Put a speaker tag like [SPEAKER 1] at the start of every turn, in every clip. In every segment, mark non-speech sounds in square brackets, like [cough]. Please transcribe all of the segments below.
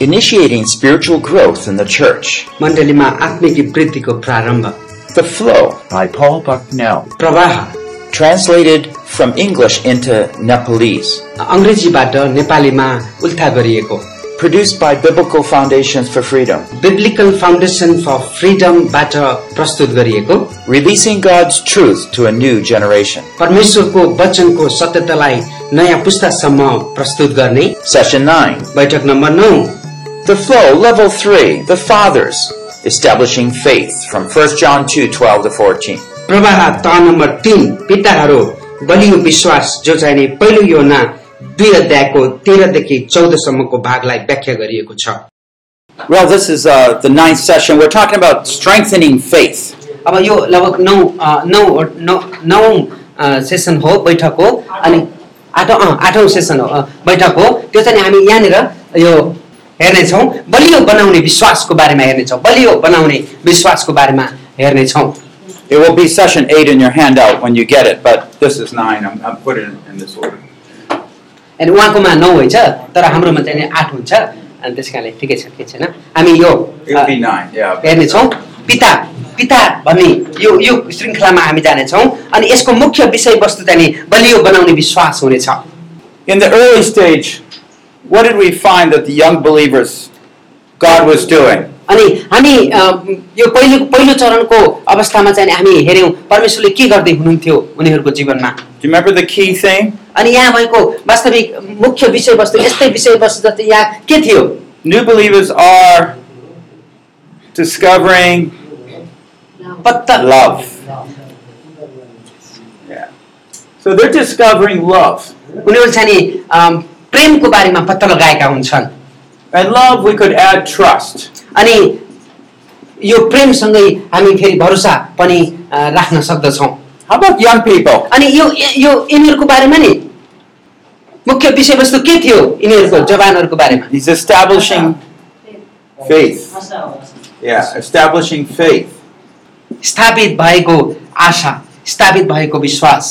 [SPEAKER 1] initiating spiritual growth in the church.
[SPEAKER 2] मण्डलीमा आत्मिक वृद्धिको प्रारम्भ
[SPEAKER 1] The Flow,
[SPEAKER 3] by Paul Bucknell.
[SPEAKER 2] प्रवाह
[SPEAKER 1] translated from English into Nepalese,
[SPEAKER 2] अङ्ग्रेजीबाट नेपालीमा उल्था गरिएको
[SPEAKER 1] produced by Biblical Foundations for Freedom,
[SPEAKER 2] biblical foundation for फ्रिडमबाट प्रस्तुत गरिएको
[SPEAKER 1] releasing God's truth to a new generation.
[SPEAKER 2] परमेश्वरको वचनको सत्यतालाई नयाँ पुस्तासम्म प्रस्तुत गर्ने
[SPEAKER 1] Session 9.
[SPEAKER 2] बैठक नम्बर नौ
[SPEAKER 1] The flow, level three, the fathers, establishing faith from 1 John 2, 12 to 14.
[SPEAKER 2] प्रवाह तह नम्बर तीन पिताहरू बलियो विश्वास जो चाहिने पहिलो योना दुई अध्यायको तेह्रदेखि चौधसम्मको भागलाई व्याख्या गरिएको छ
[SPEAKER 1] Well, this is uh, the ninth session. We're talking about strengthening faith.
[SPEAKER 2] अब यो लगभग नौ अ, नौ नौ नौ अ, सेसन हो बैठक हो अनि आठौँ अँ, आठौँ सेसन हो अ, बैठक हो त्यो चाहिँ हामी यहाँनिर यो हेर्नेछौँ बलियो बनाउने विश्वासको बारेमा हेर्नेछौँ बलियो बनाउने विश्वासको बारेमा हेर्नेछौँ
[SPEAKER 1] It will be session eight in your handout when you get it, but
[SPEAKER 3] This is nine. I'm, I'm putting it in this order.
[SPEAKER 2] अनि उहाँकोमा नौ हुन्छ तर हाम्रोमा चाहिँ नि आठ हुन्छ अनि त्यस कारणले ठिकै छ केही छैन हामी यो
[SPEAKER 3] It'll
[SPEAKER 2] a,
[SPEAKER 3] be nine. Yeah.
[SPEAKER 2] हेर्नेछौँ पिता पिता भन्ने यो यो श्रृङ्खलामा हामी जानेछौँ अनि यसको मुख्य विषयवस्तु चाहिँ नि बलियो बनाउने विश्वास हुनेछ
[SPEAKER 1] in the early stage, what did we find that the young believers, God was doing?
[SPEAKER 2] अनि हामी अ, यो पहिलो पहिलो चरणको अवस्थामा चाहिँ नि हामी हेऱ्यौँ परमेश्वरले के गर्दै हुनुहुन्थ्यो उनीहरूको जीवनमा
[SPEAKER 1] Do you remember the key thing?
[SPEAKER 2] अनि यहाँ भएको वास्तविक मुख्य विषयवस्तु यस्तै विषयवस्तु जस्तै यहाँ के थियो
[SPEAKER 1] New believers are discovering
[SPEAKER 2] पत्ता
[SPEAKER 1] love.
[SPEAKER 3] Yeah. So they're discovering love.
[SPEAKER 2] उनीहरू चाहिँ नि अ, प्रेमको बारेमा पत्ता लगाएका हुन्छन्
[SPEAKER 3] And love, we could add trust.
[SPEAKER 2] अनि यो प्रेमसँगै हामी फेरि भरोसा पनि अ, राख्न सक्दछौँ
[SPEAKER 1] How about young people?
[SPEAKER 2] अनि यो यो यिनीहरूको बारेमा नि मुख्य विषयवस्तु के थियो यिनीहरूको जवानहरूको बारेमा
[SPEAKER 1] He's establishing faith.
[SPEAKER 3] Yeah. Establishing faith.
[SPEAKER 2] स्थापित भएको आशा स्थापित भएको विश्वास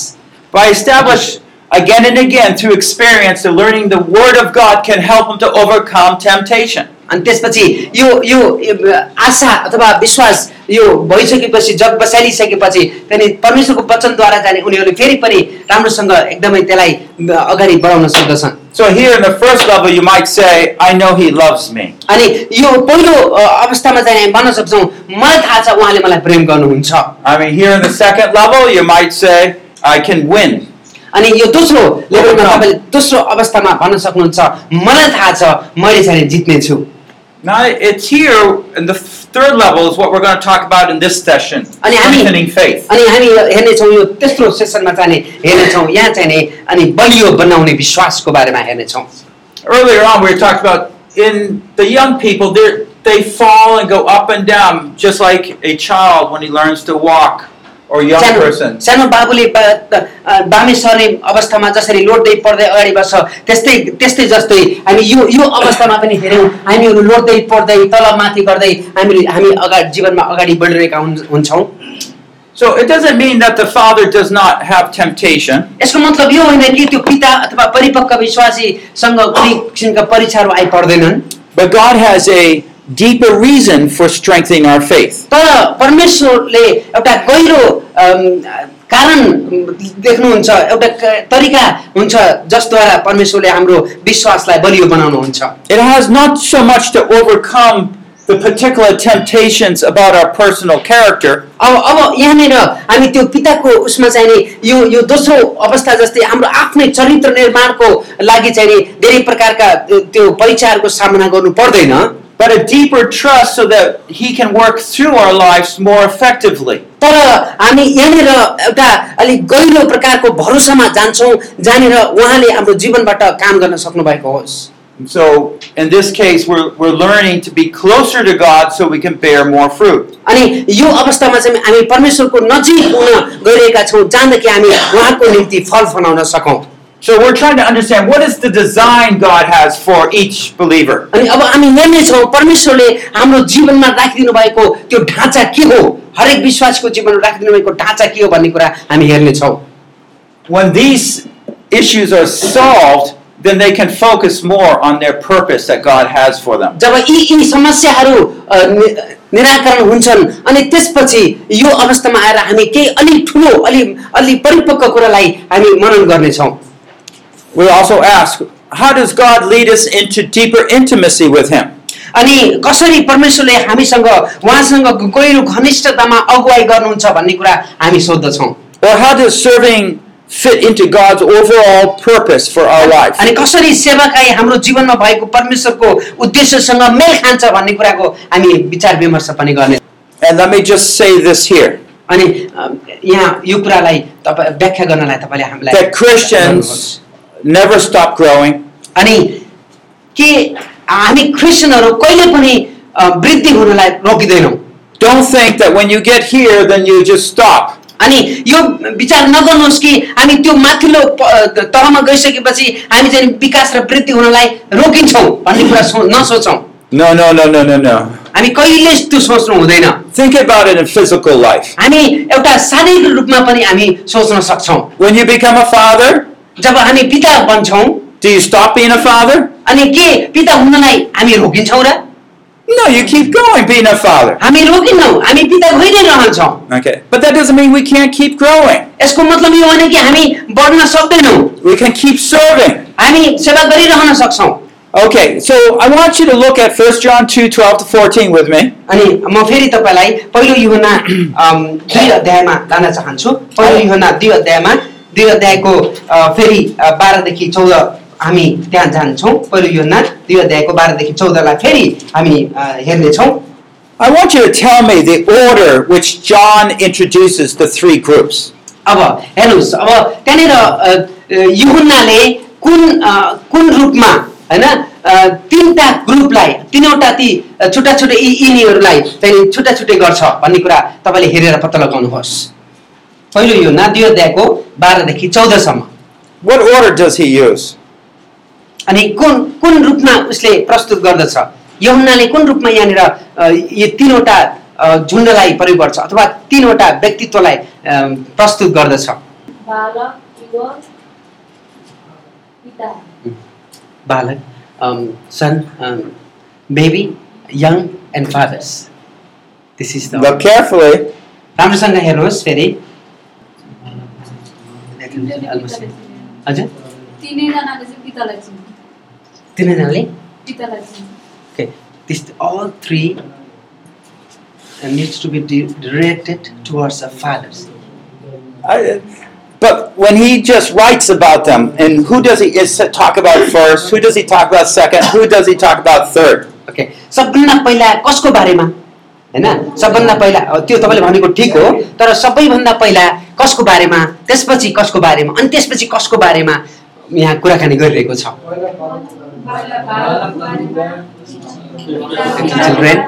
[SPEAKER 3] By establish again and again through experience, and learning the Word of God can help them to overcome temptation.
[SPEAKER 2] अनि त्यसपछि यो यो आशा अथवा विश्वास यो भइसकेपछि जग बसालिसकेपछि त्यहाँदेखि परमेश्वरको वचनद्वारा जाने उनीहरूले फेरि पनि राम्रोसँग एकदमै त्यसलाई अगाडि बढाउन सक्दछन्
[SPEAKER 3] So here in the first level, you might say, I know He loves me.
[SPEAKER 2] अनि यो पहिलो अ, अवस्थामा चाहिँ हामी भन्न सक्छौँ मलाई थाहा छ उहाँले मलाई प्रेम गर्नुहुन्छ
[SPEAKER 3] I mean, here in the second level, you might say, I can win.
[SPEAKER 2] अनि यो दोस्रो लेभलमा
[SPEAKER 3] Overcome.
[SPEAKER 2] तपाईँले दोस्रो अवस्थामा भन्न सक्नुहुन्छ मलाई थाहा छ मैले चाहिँ जित्नेछु
[SPEAKER 3] Now, it's here, and the third level is what we're going to talk about in this session
[SPEAKER 2] Ali, Ali.
[SPEAKER 3] strengthening faith.
[SPEAKER 2] अनि हामी यो हेर्नेछौँ यो तेस्रो सेसनमा चाहिँ नि हेर्नेछौँ यहाँ चाहिँ नि अनि बलियो बनाउने विश्वासको बारेमा हेर्नेछौं
[SPEAKER 3] Earlier on, we talked about in the young people, they're- they fall and go up and down, just like a child when he learns to walk, or a young
[SPEAKER 2] सानो
[SPEAKER 3] person.
[SPEAKER 2] सानो बाबुले बा- अ, बामे सर्ने अवस्थामा जसरी लोड्दै पढ्दै अगाडि बढ्छ त्यस्तै त्यस्तै जस्तै हामी यो यो अवस्थामा पनि हेऱ्यौँ हामीहरू लोड्दै पढ्दै तल माथि गर्दै हामी हामी अगाडि जीवनमा अगाडि बढिरहेका हुन्- हुन्छौँ
[SPEAKER 3] So it doesn't mean that the father does not have temptation.
[SPEAKER 2] यसको मतलब यो होइन कि त्यो पिता अथवा परिपक्व विश्वासीसँग कुनै किसिमका परीक्षाहरू आइपर्दैनन्
[SPEAKER 1] But God has a deeper reason for strengthening our faith.
[SPEAKER 2] तर परमेश्वरले एउटा गहिरो अम, कारण देख्नुहुन्छ एउटा क- तरिका हुन्छ जसद्वारा परमेश्वरले हाम्रो विश्वासलाई बलियो बनाउनुहुन्छ
[SPEAKER 3] It has not so much to overcome the particular temptations about our personal character,
[SPEAKER 2] अब अब यहाँनिर हामी त्यो पिताको उसमा चाहिँ नि यो यो दोस्रो अवस्था जस्तै हाम्रो आफ्नै चरित्र निर्माणको लागि चाहिँ नि धेरै प्रकारका त्यो परीक्षाहरूको सामना गर्नु पर्दैन
[SPEAKER 3] but a deeper trust so that he can work through our lives more effectively.
[SPEAKER 2] तर हामी यहाँनिर एउटा अलिक गहिरो प्रकारको भरोसामा जान्छौँ जहाँनिर उहाँले हाम्रो जीवनबाट काम गर्न सक्नु भएको होस्
[SPEAKER 3] And so in this case, we're, we're learning to be closer to God so we can bear more fruit.
[SPEAKER 2] अनि यो अवस्थामा चाहिँ हामी परमेश्वरको नजिक हुन गइरहेका छौँ जहाँदेखि हामी उहाँको निम्ति फल फलाउन सकौँ
[SPEAKER 3] So we're trying to understand what is the design God has for each believer.
[SPEAKER 2] अनि अब हामी हेर्ने छौँ परमेश्वरले हाम्रो जीवनमा राखिदिनु भएको त्यो ढाँचा के हो हरेक विश्वासको जीवनमा राखिदिनु भएको ढाँचा के हो भन्ने कुरा हामी हेर्नेछौँ
[SPEAKER 3] When these issues are solved,
[SPEAKER 1] then they can focus more on their purpose that God has for them.
[SPEAKER 2] जब यी यी समस्याहरू अ, नि- निराकरण हुन्छन् अनि त्यसपछि यो अवस्थामा आएर हामी केही अलि ठुलो अलि अलि परिपक्व कुरालाई हामी मनन गर्नेछौँ
[SPEAKER 1] We also ask, how does God lead us into deeper intimacy with Him?
[SPEAKER 2] अनि कसरी परमेश्वरले हामीसँग उहाँसँग गहिरो घनिष्ठतामा अगुवाई गर्नुहुन्छ भन्ने कुरा हामी सोद्धछौं
[SPEAKER 1] Or how does serving fit into God's overall purpose for our life?
[SPEAKER 2] अनि कसरी सेवाकाई हाम्रो जीवनमा भएको परमेश्वरको उद्देश्यसँग मेल खान्छ भन्ने कुराको हामी विचार विमर्श पनि गर्ने
[SPEAKER 1] And let me just say this here
[SPEAKER 2] अनि अ, यहाँ यो कुरालाई तपाईँ व्याख्या गर्नलाई तपाईँले हामीलाई
[SPEAKER 1] that Christians never stop growing,
[SPEAKER 2] अनि के हामी क्रिस्चियनहरू कहिले पनि अ, वृद्धि हुनलाई रोकिँदैनौँ
[SPEAKER 1] don't think that when you get here, then you just stop.
[SPEAKER 2] अनि यो विचार नगर्नुहोस् कि हामी त्यो माथिल्लो प- अ, तहमा गइसकेपछि हामी चाहिँ विकास र वृद्धि हुनलाई रोकिन्छौँ भन्ने कुरा सो नसोचौँ
[SPEAKER 1] No, no, no, no, no, no.
[SPEAKER 2] हामी कहिले त्यो सोच्नु हुँदैन
[SPEAKER 1] Think about it in physical life.
[SPEAKER 2] हामी एउटा शारीरिक रूपमा पनि हामी सोच्न सक्छौँ
[SPEAKER 1] When you become a father,
[SPEAKER 2] जब हामी पिता बन्छौँ
[SPEAKER 1] do you stop being a father?
[SPEAKER 2] अनि के पिता हुनलाई हामी रोकिन्छौँ र
[SPEAKER 1] No, you keep going being a father.
[SPEAKER 2] हामी रोकिन्नौँ हामी पिता भइ नै रहन्छौँ
[SPEAKER 1] Okay. But that doesn't mean we can't keep growing.
[SPEAKER 2] यसको मतलब यो भने कि हामी बढ्न सक्दैनौँ
[SPEAKER 1] We can keep serving.
[SPEAKER 2] हामी सेवा गरिरहन सक्छौँ
[SPEAKER 1] Okay, so I want you to look at 1 John 2 12 to 14 with me.
[SPEAKER 2] अनि म फेरि तपाईँलाई पहिलो युहना अम, दुई अध्यायमा लान चाहन्छु पहिलो युहना दुई अध्यायमा दुई अध्यायको अ, फेरि अ, बाह्रदेखि चौध हामी त्यहाँ जान्छौँ पहिलो युहना दुई अध्यायको बाह्रदेखि चौधलाई फेरि हामी अ, हेर्नेछौँ
[SPEAKER 1] I want you to tell me the order which John introduces the three groups.
[SPEAKER 2] अब हेर्नुहोस् अब त्यहाँनिर अ, अ, युहन्नाले कुन अ, कुन रूपमा होइन अ, तिनवटा ग्रुपलाई तिनवटा ती अ, छुट्टा छुट्टै यी यिनीहरूलाई चाहिँ छुट्टा छुट्टै गर्छ भन्ने कुरा तपाईँले हेरेर पत्ता लगाउनुहोस् पहिलो यो ना दुई अध्यायको बाह्रदेखि चौधसम्म
[SPEAKER 1] What order does he use?
[SPEAKER 2] अनि कुन कुन रूपमा उसले प्रस्तुत गर्दछ यहुन्नाले कुन रूपमा यहाँनिर अ, यी तिनवटा अ, झुन्डलाई प्रयोग गर्छ अथवा तिनवटा व्यक्तित्वलाई अ, प्रस्तुत गर्दछ
[SPEAKER 4] बालक युवक पिता
[SPEAKER 2] बालक um, son, um, baby, young and fathers. This is the
[SPEAKER 1] Look carefully.
[SPEAKER 2] राम्रोसँग हेर्नुहोस् फेरि
[SPEAKER 4] तिनले पितालाई चिने
[SPEAKER 2] हजुर
[SPEAKER 4] तिनैजनाले चाहिँ पितालाई चिन्ने
[SPEAKER 2] तिनैजनाले
[SPEAKER 4] पितालाई चिन्ने
[SPEAKER 2] okay this all three uh, needs to be di- directed towards the fathers.
[SPEAKER 1] I, but when he just writes about them, and who does he is, talk about first? Who does he talk about second? Who does he talk about third?
[SPEAKER 2] Okay सबभन्दा पहिला कसको बारेमा होइन सबभन्दा पहिला अ, त्यो तपाईँले भनेको ठिक हो तर सबैभन्दा पहिला कसको बारेमा त्यसपछि कसको बारेमा अनि त्यसपछि कसको बारेमा यहाँ कुराकानी गरिरहेको छ
[SPEAKER 4] बालक बारेमा
[SPEAKER 2] children,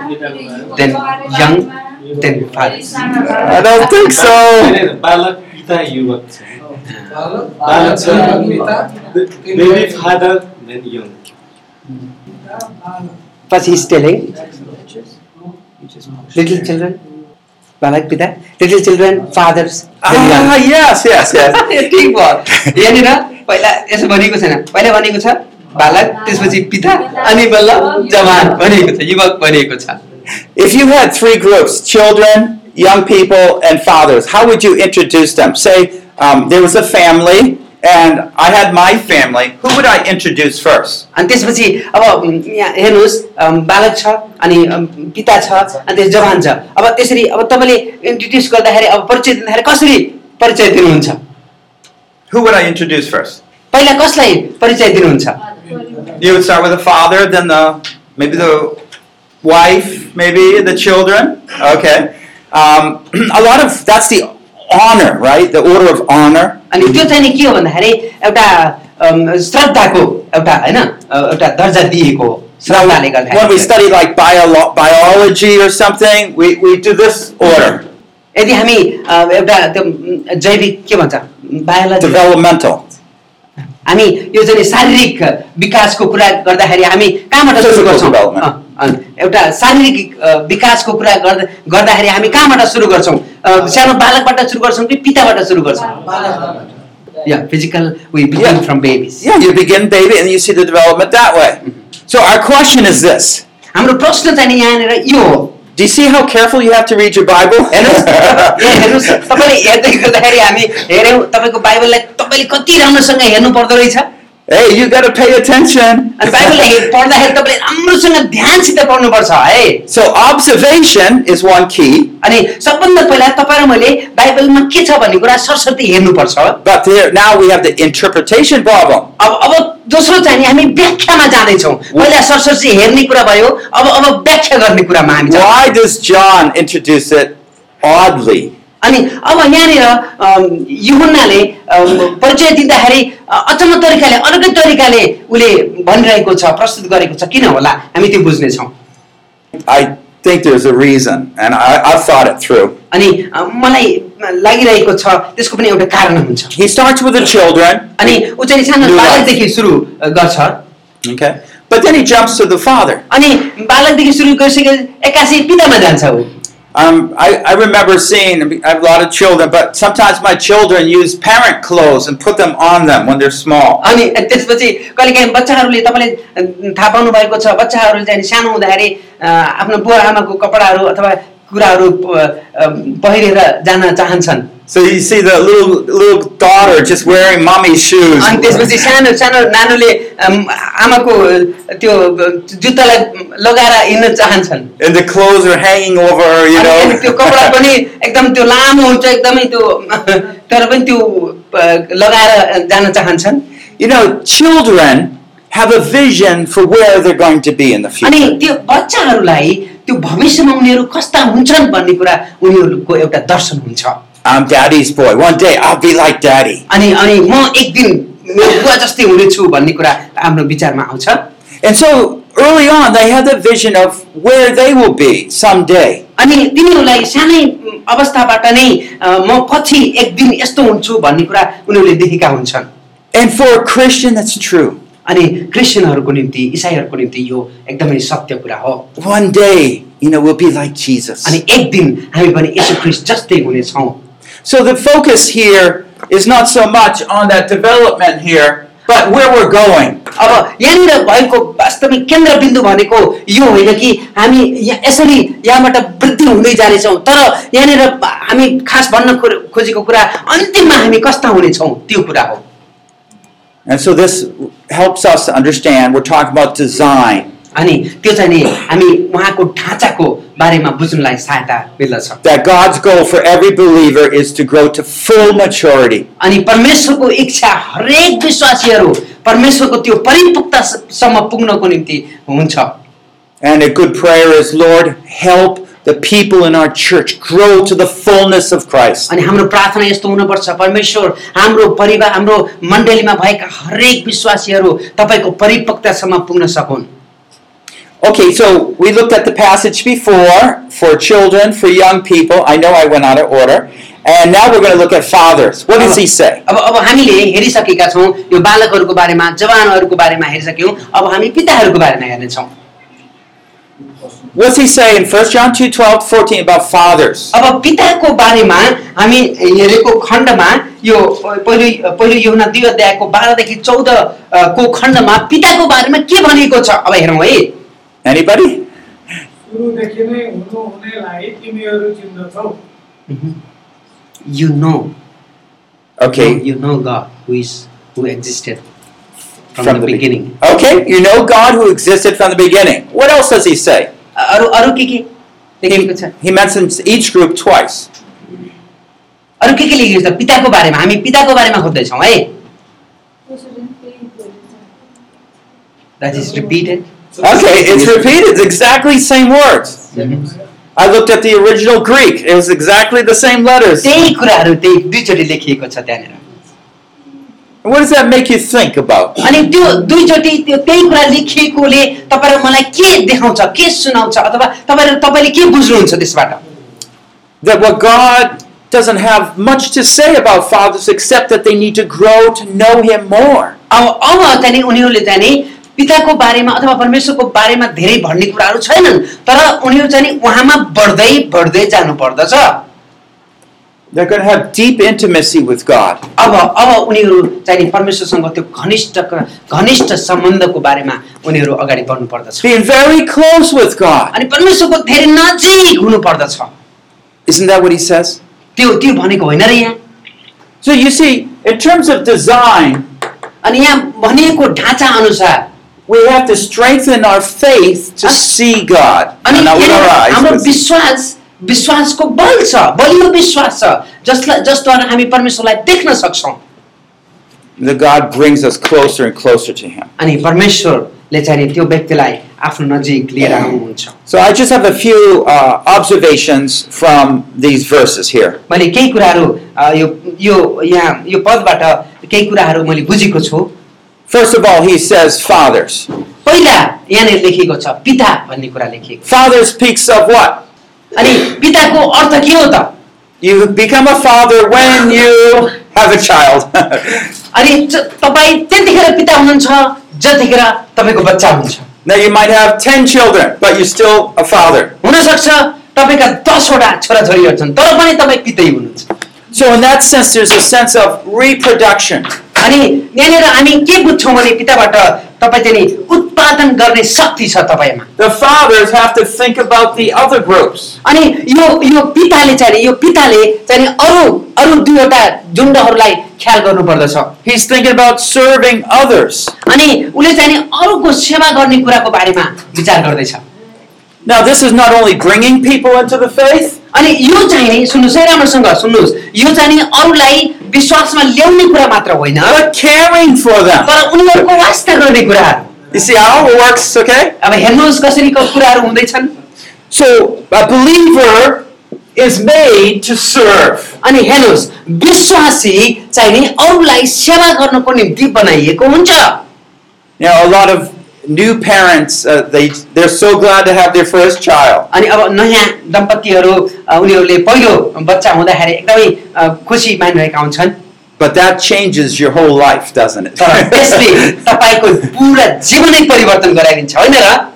[SPEAKER 2] then young, then fathers.
[SPEAKER 1] I don't think so.
[SPEAKER 5] बालक पिता युवक छ
[SPEAKER 6] बालक छ पिता
[SPEAKER 5] बेबी फादर देन यङ
[SPEAKER 2] पछि स्टेलिङ लिटिल चिल्ड्रेन बालक पिता little children fathers
[SPEAKER 1] Ah, yes, yes, yes.
[SPEAKER 2] [laughs] ठिक भयो यहाँनिर पहिला यसो भनेको छैन पहिला भनेको छ बालक त्यसपछि पिता अनि बल्ल जवान भनिएको छ युवक भनिएको छ
[SPEAKER 1] If you had three groups children, young people, and fathers how would you introduce them? Say um, there was a family, and I had my family. Who would I introduce first?
[SPEAKER 2] अनि त्यसपछि अब उम्, यहाँ हेर्नुहोस् अम्, बालक छ अनि अम्, पिता छ अनि त्यस जवान छ अब त्यसरी अब तपाईँले इन्ट्रोड्युस गर्दाखेरि अब परिचय दिँदाखेरि कसरी परिचय दिनुहुन्छ
[SPEAKER 1] Who would I introduce first?
[SPEAKER 2] पहिला कसलाई परिचय दिनुहुन्छ
[SPEAKER 1] You would start with the father, then the maybe the wife, maybe the children. Okay, um, [clears throat] a lot of that's the honor, right? The order of honor.
[SPEAKER 2] अनि त्यो चाहिँ नि के हो भन्दाखेरि एउटा अम्, श्रद्धाको एउटा होइन अ, एउटा दर्जा दिएको हो श्रद्धाले
[SPEAKER 1] When we
[SPEAKER 2] गर्दा
[SPEAKER 1] study like bio- biology or something, we, we do this order,
[SPEAKER 2] यदि हामी अ, एउटा त्यो उम्, जैविक के भन्छ बायोलोजी
[SPEAKER 1] developmental.
[SPEAKER 2] हामी यो चाहिँ शारीरिक विकासको कुरा गर्दाखेरि हामी कहाँबाट सुरु
[SPEAKER 1] Physical
[SPEAKER 2] गर्छौँ
[SPEAKER 1] development.
[SPEAKER 2] अँ, अँ, एउटा शारीरिक अ, विकासको कुरा गर्दा गर्दाखेरि हामी कहाँबाट सुरु गर्छौँ अ, सानो बालकबाट सुरु गर्छौँ कि पिताबाट सुरु गर्छौँ yeah, physical, we begin
[SPEAKER 1] Yeah.
[SPEAKER 2] from babies.
[SPEAKER 1] Yeah, you begin baby and you see the development that way. So our question is this.
[SPEAKER 2] हाम्रो प्रश्न चाहिँ नि यहाँनिर यो हो
[SPEAKER 1] Do you see how careful you have to read your Bible? [laughs]
[SPEAKER 2] हेर्नुहोस् ए, हेर्नुहोस् तपाईँले हेर्दै गर्दाखेरि हामी हेऱ्यौँ तपाईँको बाइबललाई तपाईँले कति राम्रोसँग हेर्नु पर्दो रहेछ
[SPEAKER 1] hey, you gotta pay attention.
[SPEAKER 2] अनि बाइबललाई हे- पढ्दाखेरि तपाईँले राम्रोसँग ध्यानसित पढ्नुपर्छ है
[SPEAKER 1] So observation is one key,
[SPEAKER 2] अनि सबभन्दा पहिला तपाईँ र मैले बाइबलमा के छ भन्ने कुरा सरस्वती हेर्नुपर्छ
[SPEAKER 1] but there, now we have the interpretation problem.
[SPEAKER 2] अब अब दोस्रो चाहिँ नि हामी व्याख्यामा जाँदैछौँ पहिला सरस्वती हेर्ने कुरा भयो अब अब व्याख्या गर्ने कुरामा हामी जाँदैछौँ।
[SPEAKER 1] Why does John introduce it oddly?
[SPEAKER 2] अनि अब यहाँनिर अम, युहन्नाले अम, परिचय दिँदाखेरि अ, अचम्म तरिकाले अर्कै तरिकाले उसले भनिरहेको छ प्रस्तुत गरेको छ किन होला हामी त्यो बुझ्नेछौँ
[SPEAKER 1] I think there's a reason, and I, I've thought it through.
[SPEAKER 2] अनि अ, मलाई लागिरहेको छ त्यसको पनि एउटा कारण हुन्छ
[SPEAKER 1] He starts with the children,
[SPEAKER 2] अनि ऊ चाहिँ सानो
[SPEAKER 1] लुगा।
[SPEAKER 2] बालकदेखि सुरु अ, गर्छ
[SPEAKER 1] okay, but then he jumps to the father.
[SPEAKER 2] अनि बालकदेखि सुरु गरिसके एक्कासी पितामा जान्छ ऊ
[SPEAKER 1] Um, I, I remember seeing, I have a lot of children, but sometimes my children use parent clothes and put them on them when they're small.
[SPEAKER 2] अनि त्यसपछि कहिलेकाहीँ बच्चाहरूले तपाईँले अ, थाहा पाउनु भएको छ बच्चाहरू चाहिँ सानो हुँदाखेरि अ, आफ्नो बुवा आमाको कपडाहरू अथवा कुराहरू प- अ, पहिरेर जान चाहन्छन्
[SPEAKER 1] So you see the little little daughter just wearing mommy's shoes.
[SPEAKER 2] अनि त्यसपछि सानो सानो नानोले अम, आमाको अ, त्यो अ, जुत्तालाई लगाएर हिँड्न चाहन्छन्
[SPEAKER 1] and the clothes are hanging over her, you
[SPEAKER 2] अनि अनि त्यो कपडा
[SPEAKER 1] know.
[SPEAKER 2] पनि एकदम त्यो लामो हुन्छ एकदमै त्यो तर पनि त्यो अ, लगाएर जान चाहन्छन्
[SPEAKER 1] [laughs] you know, children have a vision for where they're going to be in the future.
[SPEAKER 2] अनि त्यो बच्चाहरूलाई त्यो भविष्यमा उनीहरू कस्ता हुन्छन् भन्ने कुरा उनीहरूको एउटा दर्शन हुन्छ
[SPEAKER 1] I'm daddy's boy. One day I'll be like daddy.
[SPEAKER 2] अनि अनि म एक दिन मेरो बुवा जस्तै हुनेछु भन्ने कुरा आफ्नो विचारमा आउँछ
[SPEAKER 1] And so early on, they have the vision of where they will be someday.
[SPEAKER 2] अनि तिनीहरूलाई सानै अवस्थाबाट नै अ, म पछि एक दिन यस्तो हुन्छु भन्ने कुरा उनीहरूले देखेका हुन्छन्
[SPEAKER 1] And for a Christian, that's true.
[SPEAKER 2] अनि क्रिस्चियनहरूको निम्ति इसाईहरूको निम्ति यो एकदमै सत्य कुरा हो
[SPEAKER 1] One day, you know, we'll be like Jesus.
[SPEAKER 2] अनि एक दिन हामी पनि यसो क्रिस्ट जस्तै हुनेछौँ
[SPEAKER 1] So the focus here is not so much on that development here, but where we're going.
[SPEAKER 2] अब यहाँनिर भएको वास्तविक केन्द्रबिन्दु भनेको यो होइन कि हामी यहाँ यसरी यहाँबाट वृद्धि हुँदै जानेछौँ तर यहाँनिर हामी खास भन्न खो- खोजेको कुरा अन्तिममा हामी कस्ता हुनेछौँ त्यो कुरा हो
[SPEAKER 1] And so this helps us to understand we're talking about design,
[SPEAKER 2] अनि त्यो चाहिँ नि हामी उहाँको ढाँचाको बारेमा बुझ्नुलाई सहायता मिल्दछ
[SPEAKER 1] that God's goal for every believer is to grow to full maturity.
[SPEAKER 2] अनि परमेश्वरको इच्छा हरेक विश्वासीहरू परमेश्वरको त्यो परिपक्वतासम्म पुग्नको निम्ति हुन्छ
[SPEAKER 1] And a good prayer is, Lord, help the people in our church grow to the fullness of Christ.
[SPEAKER 2] अनि हाम्रो प्रार्थना यस्तो हुनुपर्छ परमेश्वर हाम्रो परिवार हाम्रो मण्डलीमा भएका हरेक विश्वासीहरू तपाईँको परिपक्वतासम्म पुग्न सकुन्
[SPEAKER 1] Okay, so we looked at the passage before for children, for young people. I know I went out of order. And now we're going to look at fathers. What does he say?
[SPEAKER 2] अब अब हामीले हेरिसकेका छौँ यो बालकहरूको बारेमा जवानहरूको बारेमा हेरिसक्यौँ अब हामी पिताहरूको बारेमा हेर्नेछौँ
[SPEAKER 1] What's he say in 1 John 2 12, 14 about fathers?
[SPEAKER 2] अब पिताको बारेमा हामी हेरेको खण्डमा यो पहिलो पहिलो योना दुई अध्यायको बाह्रदेखि चौध अ, को खण्डमा पिताको बारेमा के भनिएको छ अब हेरौँ है
[SPEAKER 1] Anybody?
[SPEAKER 7] सुरुदेखि नै हुनुहुनेलाई तिमीहरू चिन्दछौ
[SPEAKER 2] you know
[SPEAKER 1] Okay.
[SPEAKER 2] You know God who is who existed from the beginning
[SPEAKER 1] Okay, you know God who existed from the beginning. What else does he say?
[SPEAKER 2] अरू अरू के के लेखिएको छ
[SPEAKER 1] He mentions each group twice.
[SPEAKER 2] अरू के के लेखिएको छ पिताको बारेमा हामी पिताको बारेमा खोज्दैछौँ है
[SPEAKER 4] त्यसरी त्यही गरिन्छ।
[SPEAKER 2] That is repeated
[SPEAKER 1] Okay, it's repeated, it's exactly the same words. I looked at the original Greek, it was exactly the same letters.
[SPEAKER 2] त्यही कुराहरू त्यही दुईचोटि लेखिएको छ त्यहाँनिर
[SPEAKER 1] What does that make you think about?
[SPEAKER 2] अनि त्यो दुईचोटि त्यो त्यही कुरा लेखिएकोले तपाईँ र मलाई के देखाउँछ के सुनाउँछ अथवा तपाईँ र तपाईँले के बुझ्नुहुन्छ त्यसबाट
[SPEAKER 1] That what God doesn't have much to say about fathers except that they need to grow to know Him more.
[SPEAKER 2] अब अब चाहिँ नि उनीहरूले चाहिँ नि पिताको बारेमा अथवा परमेश्वरको बारेमा धेरै भन्ने कुराहरू छैनन् तर उनीहरू चाहिँ नि उहाँमा बढ्दै बढ्दै जानु पर्दछ
[SPEAKER 1] They're going to have deep intimacy with God.
[SPEAKER 2] अब अब उनीहरू चाहिँ नि परमेश्वरसँग त्यो घनिष्ठ घनिष्ठ सम्बन्धको बारेमा उनीहरू अगाडि बढ्नु पर्दछ
[SPEAKER 1] Being very close with God.
[SPEAKER 2] अनि परमेश्वरको धेरै नजिक हुनु पर्दछ
[SPEAKER 1] Isn't that what he says?
[SPEAKER 2] त्यो त्यो भनेको होइन र यहाँ
[SPEAKER 1] So you see, in terms of design,
[SPEAKER 2] अनि यहाँ भनिएको ढाँचा अनुसार
[SPEAKER 1] we have to strengthen our faith to
[SPEAKER 2] Huh?
[SPEAKER 1] see God.
[SPEAKER 2] अनि
[SPEAKER 1] Not with our
[SPEAKER 2] यहाँनिर
[SPEAKER 1] eyes,
[SPEAKER 2] हाम्रो
[SPEAKER 1] but-
[SPEAKER 2] विश्वास विश्वासको बल छ बलियो विश्वास छ जसलाई जसद्वारा हामी परमेश्वरलाई देख्न सक्छौँ
[SPEAKER 1] that God brings us closer and closer to Him.
[SPEAKER 2] अनि परमेश्वरले चाहिँ नि त्यो व्यक्तिलाई आफ्नो नजिक लिएर आउनुहुन्छ
[SPEAKER 1] So I just have a few uh, observations from these verses here.
[SPEAKER 2] मैले केही कुराहरू अ, यो यो यहाँ यो पदबाट केही कुराहरू मैले बुझेको छु
[SPEAKER 1] First of all, he says, Fathers.
[SPEAKER 2] पहिला यहाँनिर लेखिएको छ पिता भन्ने कुरा लेखिएको
[SPEAKER 1] Fathers speaks of what?
[SPEAKER 2] अनि पिताको अर्थ के हो त
[SPEAKER 1] You become a father when you have a child. [laughs]
[SPEAKER 2] अनि ज- तपाईँ त्यतिखेर पिता हुनुहुन्छ जतिखेर तपाईँको बच्चा हुन्छ
[SPEAKER 1] now you might have 10 children, but you're still a father.
[SPEAKER 2] हुनसक्छ तपाईँका दसवटा छोराछोरीहरू छन् तर पनि तपाईँ पितै हुनुहुन्छ
[SPEAKER 1] So in that sense, there's a sense of reproduction.
[SPEAKER 2] अनि यहाँनिर हामी के बुझ्छौँ भने पिताबाट तपाईँ चाहिँ नि उत्पादन गर्ने शक्ति छ तपाईँमा
[SPEAKER 1] The fathers have to think about the other groups.
[SPEAKER 2] अनि यो यो पिताले चाहिँ नि- यो पिताले चाहिँ नि अरू अरू दुईवटा झुन्डहरूलाई ख्याल गर्नुपर्दछ
[SPEAKER 1] He's thinking about serving others.
[SPEAKER 2] अनि उसले चाहिँ नि अरूको सेवा गर्ने कुराको बारेमा विचार गर्दैछ
[SPEAKER 1] Now, this is not only bringing people into the faith,
[SPEAKER 2] अनि यो चाहिँ नि सुन्नुहोस् है राम्रोसँग सुन्नुहोस् यो चाहिँ नि अरूलाई विश्वासमा ल्याउने कुरा मात्र होइन
[SPEAKER 1] but caring for them.
[SPEAKER 2] तर उनीहरूको वास्ता गर्ने कुराहरू
[SPEAKER 1] You see how it works, okay?
[SPEAKER 2] अब हेर्नुहोस् कसरी क- कुराहरू हुँदैछन्
[SPEAKER 1] So, a believer is made to serve.
[SPEAKER 2] अनि हेर्नुहोस् विश्वासी चाहिँ नि अरूलाई सेवा गर्नको निम्ति बनाइएको हुन्छ
[SPEAKER 1] You know, a lot of new parents, uh, they, they're so glad to have their first child.
[SPEAKER 2] अनि अब नयाँ दम्पतिहरू अ, उनीहरूले पहिलो बच्चा हुँदाखेरि एकदमै अ, खुसी मानिरहेका हुन्छन्
[SPEAKER 1] But that changes your whole life, doesn't
[SPEAKER 2] तर
[SPEAKER 1] [laughs]
[SPEAKER 2] त्यसले
[SPEAKER 1] it?
[SPEAKER 2] तपाईँको पुरा जीवनै परिवर्तन गराइदिन्छ होइन र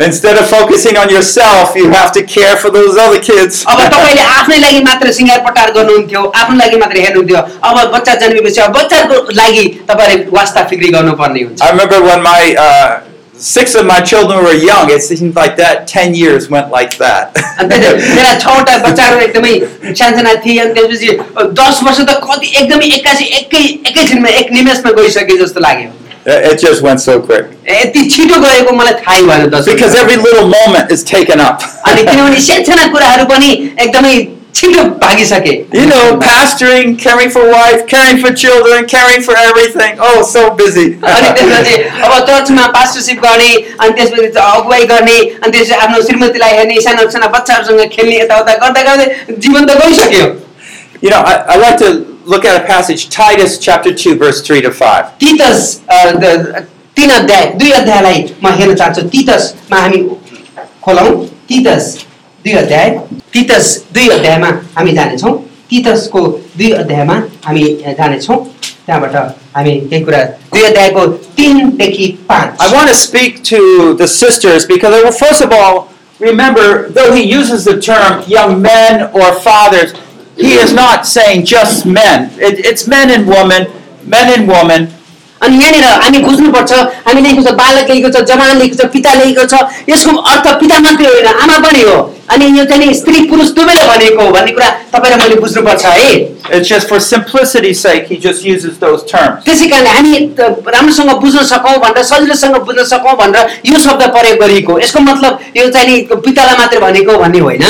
[SPEAKER 1] Instead of focusing on yourself, you have to care for those other kids. [laughs]
[SPEAKER 2] अब तपाईँले आफ्नै लागि मात्र सिँगार पटार गर्नुहुन्थ्यो आफ्नो लागि मात्र हेर्नुहुन्थ्यो अब बच्चा जन्मेपछि अब बच्चाको लागि तपाईँले वास्ता फिक्री गर्नुपर्ने हुन्छ
[SPEAKER 1] I remember when my uh, six of my children were young, it seemed like that 10 years went like that.
[SPEAKER 2] अनि त्यहाँ-
[SPEAKER 1] [laughs]
[SPEAKER 2] मेरा छवटा बच्चाहरू एकदमै सानसाना थिए अनि त्यसपछि दस वर्ष त कति एकदमै एक्कासी एकै एकैछिनमा एक निमेषमा गइसके जस्तो लाग्यो
[SPEAKER 1] it it just went so
[SPEAKER 2] [laughs]
[SPEAKER 1] quick.
[SPEAKER 2] यति छिटो गएको मलाई थाहै भएन दस वर्ष।
[SPEAKER 1] Because every little moment is taken up.
[SPEAKER 2] अनि किनभने सानसाना कुराहरू पनि एकदमै छिटो भागिसके
[SPEAKER 1] You know, pastoring, caring for wife, caring for children, caring for everything. Oh, so busy.
[SPEAKER 2] अनि त्यसपछि अब चर्चमा पास्टरसिप गर्ने अनि त्यसपछि त अगुवाई गर्ने अनि त्यसपछि आफ्नो श्रीमतीलाई हेर्ने साना साना बच्चाहरूसँग खेल्ने यताउता गर्दा गर्दै जीवन त गइसक्यो
[SPEAKER 1] you know, I, I like to look at a passage, Titus chapter 2, verse 3 to 5.
[SPEAKER 2] Titus अ, द- तिन अध्याय दुई अध्यायलाई म हेर्न चाहन्छु तितसमा हामी खोलौँ तितस दुई अध्याय तितस दुई अध्यायमा हामी जानेछौँ तितसको दुई अध्यायमा हामी जानेछौँ त्यहाँबाट हामी केही कुरा दुई अध्यायको तिनदेखि
[SPEAKER 1] I
[SPEAKER 2] पाँच
[SPEAKER 1] want to speak to the sisters because, well, first of all, remember, though he uses the term young men or fathers, he is not saying just men. It, it's men and women, men and women.
[SPEAKER 2] अनि यहाँनिर हामी बुझ्नुपर्छ हामी लेखेको छ बालक लेखेको छ जवान लेखेको छ पिता लेखेको छ यसको अर्थ पिता मात्रै होइन आमा पनि हो अनि यो चाहिँ नि स्त्री पुरुष दुवैले भनेको हो भन्ने कुरा तपाईँ र मैले बुझ्नुपर्छ है
[SPEAKER 1] It's just for simplicity's sake, he just uses those terms.
[SPEAKER 2] त्यसै कारणले हामी त राम्रोसँग बुझ्न सकौँ भनेर सजिलोसँग बुझ्न सकौँ भनेर यो शब्द प्रयोग गरिएको हो। यसको मतलब यो चाहिँ नि पितालाई मात्रै भनेको हो भन्ने होइन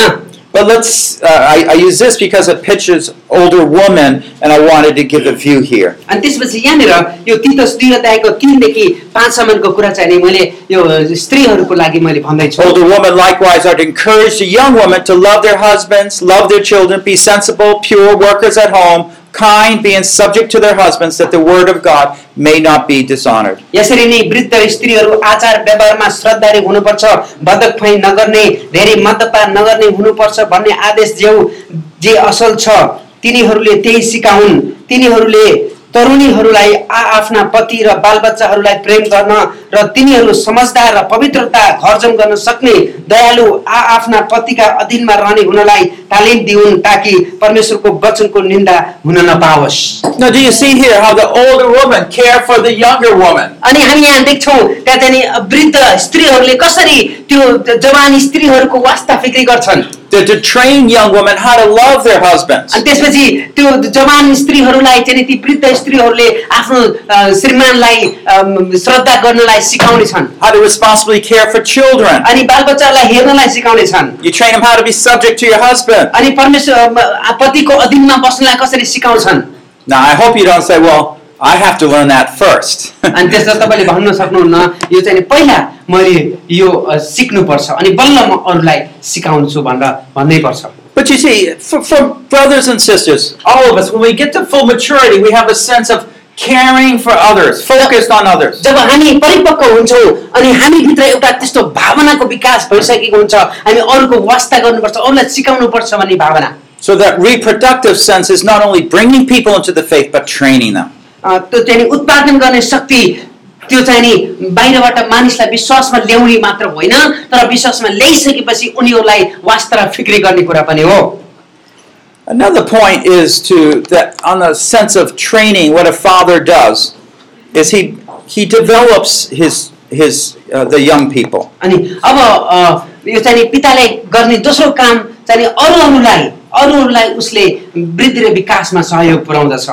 [SPEAKER 1] But let's, uh, I, I use this because it pictures older women, and I wanted to give a view here.
[SPEAKER 2] अनि त्यसपछि यहाँनिर यो तितस दुई अध्यायको तिनदेखि पाँचसम्मको कुरा चाहिँ नि मैले यो स्त्रीहरूको लागि मैले भन्दैछु
[SPEAKER 1] Older women likewise are to encourage the young women to love their husbands, love their children, be sensible, pure workers at home, kind, being subject to their husbands, that the word of God may not be dishonored.
[SPEAKER 2] यसरी नै वृद्ध स्त्रीहरू आचार व्यवहारमा श्रद्धाले हुनुपर्छ बदकफाइ नगर्ने धेरै मदपान नगर्ने हुनुपर्छ भन्ने आदेश ज्यौ जे असल छ तिनीहरूले त्यही सिकाउन् तिनीहरूले तरुणीहरूलाई आ आफ्ना पति र बालबच्चाहरूलाई प्रेम गर्न र तिनीहरू समझदार र पवित्रता घर्जम गर्न सक्ने दयालु आ आफ्ना पतिका अधीनमा रहने हुनलाई तालिम दिउन् ताकि परमेश्वरको वचनको निन्दा हुन नपाओस्
[SPEAKER 1] Now, do you see here how the older woman cared for the younger woman?
[SPEAKER 2] अनि हामी यहाँ देख्छौँ त्यहाँ चाहिँ वृद्ध स्त्रीहरूले कसरी त्यो जवान स्त्रीहरूको वास्ता फिक्री गर्छन्
[SPEAKER 1] To, to train young women how to love their husbands.
[SPEAKER 2] अनि त्यसपछि त्यो जवान स्त्रीहरूलाई चाहिँ नि ती वृद्ध स्त्रीहरूले आफ्नो अ, श्रीमानलाई अम, श्रद्धा गर्नलाई सिकाउने छन्
[SPEAKER 1] how to responsibly care for children.
[SPEAKER 2] अनि बालबच्चाहरूलाई हेर्नलाई सिकाउने छन्
[SPEAKER 1] You train them how to be subject to your husband.
[SPEAKER 2] अनि परमेश्वर अम, पतिको अधीनमा बस्नलाई कसरी सिकाउँछन्
[SPEAKER 1] Now, I hope you don't say, well, I have to learn that first. [laughs]
[SPEAKER 2] अनि त्यसलाई तपाईँले भन्न सक्नुहुन्न यो चाहिँ नि पहिला मैले यो अ, सिक्नुपर्छ अनि बल्ल म अरूलाई सिकाउँछु भनेर भन्नै पर्छ
[SPEAKER 1] but you see, for, for brothers and sisters, all of us, when we get to full maturity, we have a sense of caring for others, focused on others.
[SPEAKER 2] जब हामी परिपक्व हुन्छौँ अनि हामीभित्र एउटा त्यस्तो भावनाको विकास भइसकेको हुन्छ हामी अरूको वास्ता गर्नुपर्छ अरूलाई सिकाउनुपर्छ भन्ने भावना
[SPEAKER 1] So that reproductive sense is not only bringing people into the faith, but training them.
[SPEAKER 2] अ, त्यो चाहिँ नि उत्पादन गर्ने शक्ति त्यो चाहिँ नि बाहिरबाट मानिसलाई विश्वासमा ल्याउने मात्र होइन तर विश्वासमा ल्याइसकेपछि उनीहरूलाई वास्ता र फिक्री गर्ने कुरा पनि हो
[SPEAKER 1] Another point is to that on the sense of training, what a father does is he he develops his his uh, the young people.
[SPEAKER 2] अनि अब अ, यो चाहिँ नि पिताले गर्ने दोस्रो काम चाहिँ नि अरू अरूलाई अरूहरूलाई उसले वृद्धि र विकासमा सहयोग पुर्याउँदछ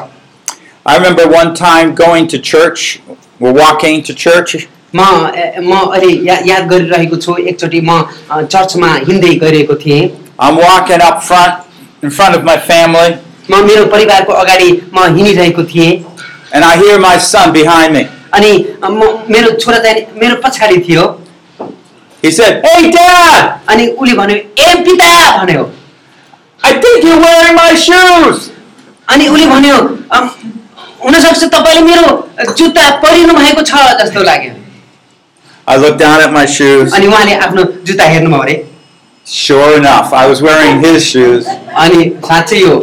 [SPEAKER 1] I remember one time going to church. We're walking to church,
[SPEAKER 2] म ए- म अहिले या, याद गरिरहेको छु एकचोटि म अ, चर्चमा हिँड्दै गइरहेको थिएँ
[SPEAKER 1] I'm walking up front in front of my family,
[SPEAKER 2] म मेरो परिवारको अगाडि म हिँडिरहेको थिएँ
[SPEAKER 1] and I hear my son behind me.
[SPEAKER 2] अनि अ, म मेरो छोरा चाहिँ नि मेरो पछाडि थियो
[SPEAKER 1] He said, "Oh, "Hey, Dad,
[SPEAKER 2] अनि उसले भन्यो ए पिता भन्यो
[SPEAKER 1] I think you're wearing my shoes."
[SPEAKER 2] अनि उसले भन्यो "अम, हुनसक्छ तपाईँले मेरो जुत्ता परिनु भएको छ जस्तो लाग्यो
[SPEAKER 1] I looked down at my shoes.
[SPEAKER 2] अनि उहाँले आफ्नो जुत्ता हेर्नुभयो अरे
[SPEAKER 1] Sure enough, I was wearing his shoes.
[SPEAKER 2] अनि साँच्चै यो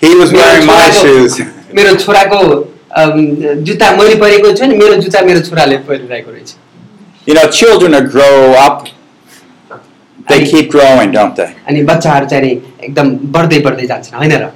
[SPEAKER 1] He was wearing my shoes.
[SPEAKER 2] मेरो छोराको अम, जुत्ता मैले परेको छु नि मेरो जुत्ता मेरो छोराले परिरहेको रहेछ
[SPEAKER 1] You know, children are grow up. They keep growing, don't they?
[SPEAKER 2] अनि बच्चाहरू चाहिँ नि एकदम बढ्दै बढ्दै जान्छन् होइन र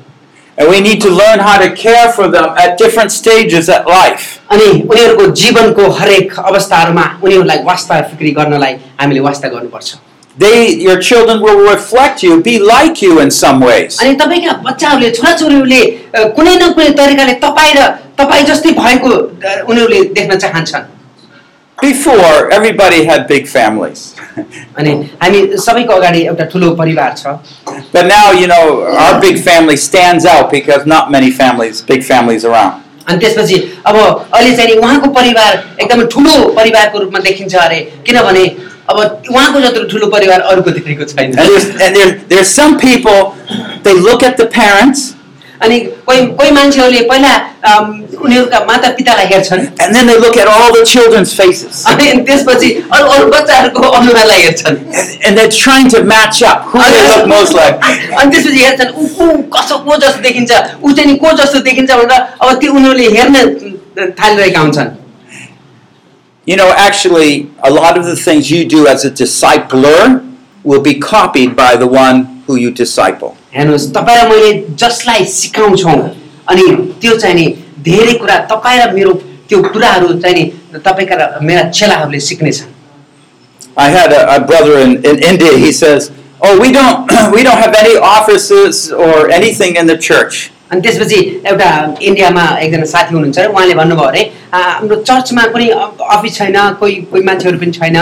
[SPEAKER 1] And we need to learn how to care for them at different stages at life.
[SPEAKER 2] अनि उनीहरूको जीवनको हरेक अवस्थाहरूमा उनीहरूलाई वास्ता फिक्री गर्नलाई हामीले वास्ता गर्नुपर्छ
[SPEAKER 1] They, your children will reflect you, be like you in some ways.
[SPEAKER 2] अनि तपाईँका बच्चाहरूले छोराछोरीहरूले अ, कुनै न कुनै तरिकाले तपाईँ र तपाईँ जस्तै भएको अ, उनीहरूले देख्न चाहन्छन्
[SPEAKER 1] Before, everybody had big families. [laughs]
[SPEAKER 2] अनि हामी सबैको अगाडि एउटा ठुलो परिवार छ
[SPEAKER 1] But now, you know, our big family stands out because not many families, big families around.
[SPEAKER 2] अनि त्यसपछि अब अहिले चाहिँ नि उहाँको परिवार एकदमै ठुलो परिवारको रूपमा देखिन्छ अरे किनभने अब उहाँको जत्रो ठुलो परिवार अरूको देखेको छैन
[SPEAKER 1] And there's, and there, there's some people, they look at the parents
[SPEAKER 2] अनि कोही कोही मान्छेहरूले पहिला अम, उनीहरूका माता पितालाई हेर्छन्
[SPEAKER 1] and then they look at all the children's faces.
[SPEAKER 2] अनि त्यसपछि अरू अरू बच्चाहरूको अनुहारलाई हेर्छन्
[SPEAKER 1] And, and they're trying to match up who
[SPEAKER 2] अनि-
[SPEAKER 1] they look most like.
[SPEAKER 2] अनि त्यसपछि हेर्छन् ऊ को कसो को जस्तो देखिन्छ ऊ चाहिँ नि को जस्तो देखिन्छ भनेर अब त्यो उनीहरूले हेर्न थालिरहेका हुन्छन्
[SPEAKER 1] You know, actually, a lot of the things you do as a discipler will be copied by the one who you disciple.
[SPEAKER 2] हेर्नुहोस् तपाईँ र मैले जसलाई सिकाउँछौँ अनि त्यो चाहिँ नि धेरै कुरा तपाईँ र मेरो त्यो कुराहरू चाहिँ नि तपाईँका र मेरा चेलाहरूले सिक्नेछन्
[SPEAKER 1] I had a, a brother in, in India. He says, "Oh, we don't [clears throat] we don't have any offices or anything in the church.
[SPEAKER 2] अनि त्यसपछि एउटा इन्डियामा एकजना साथी हुनुहुन्छ अरे उहाँले भन्नुभयो अरे "आ, हाम्रो चर्चमा कुनै अ- अफिस छैन कोही कोही मान्छेहरू पनि छैन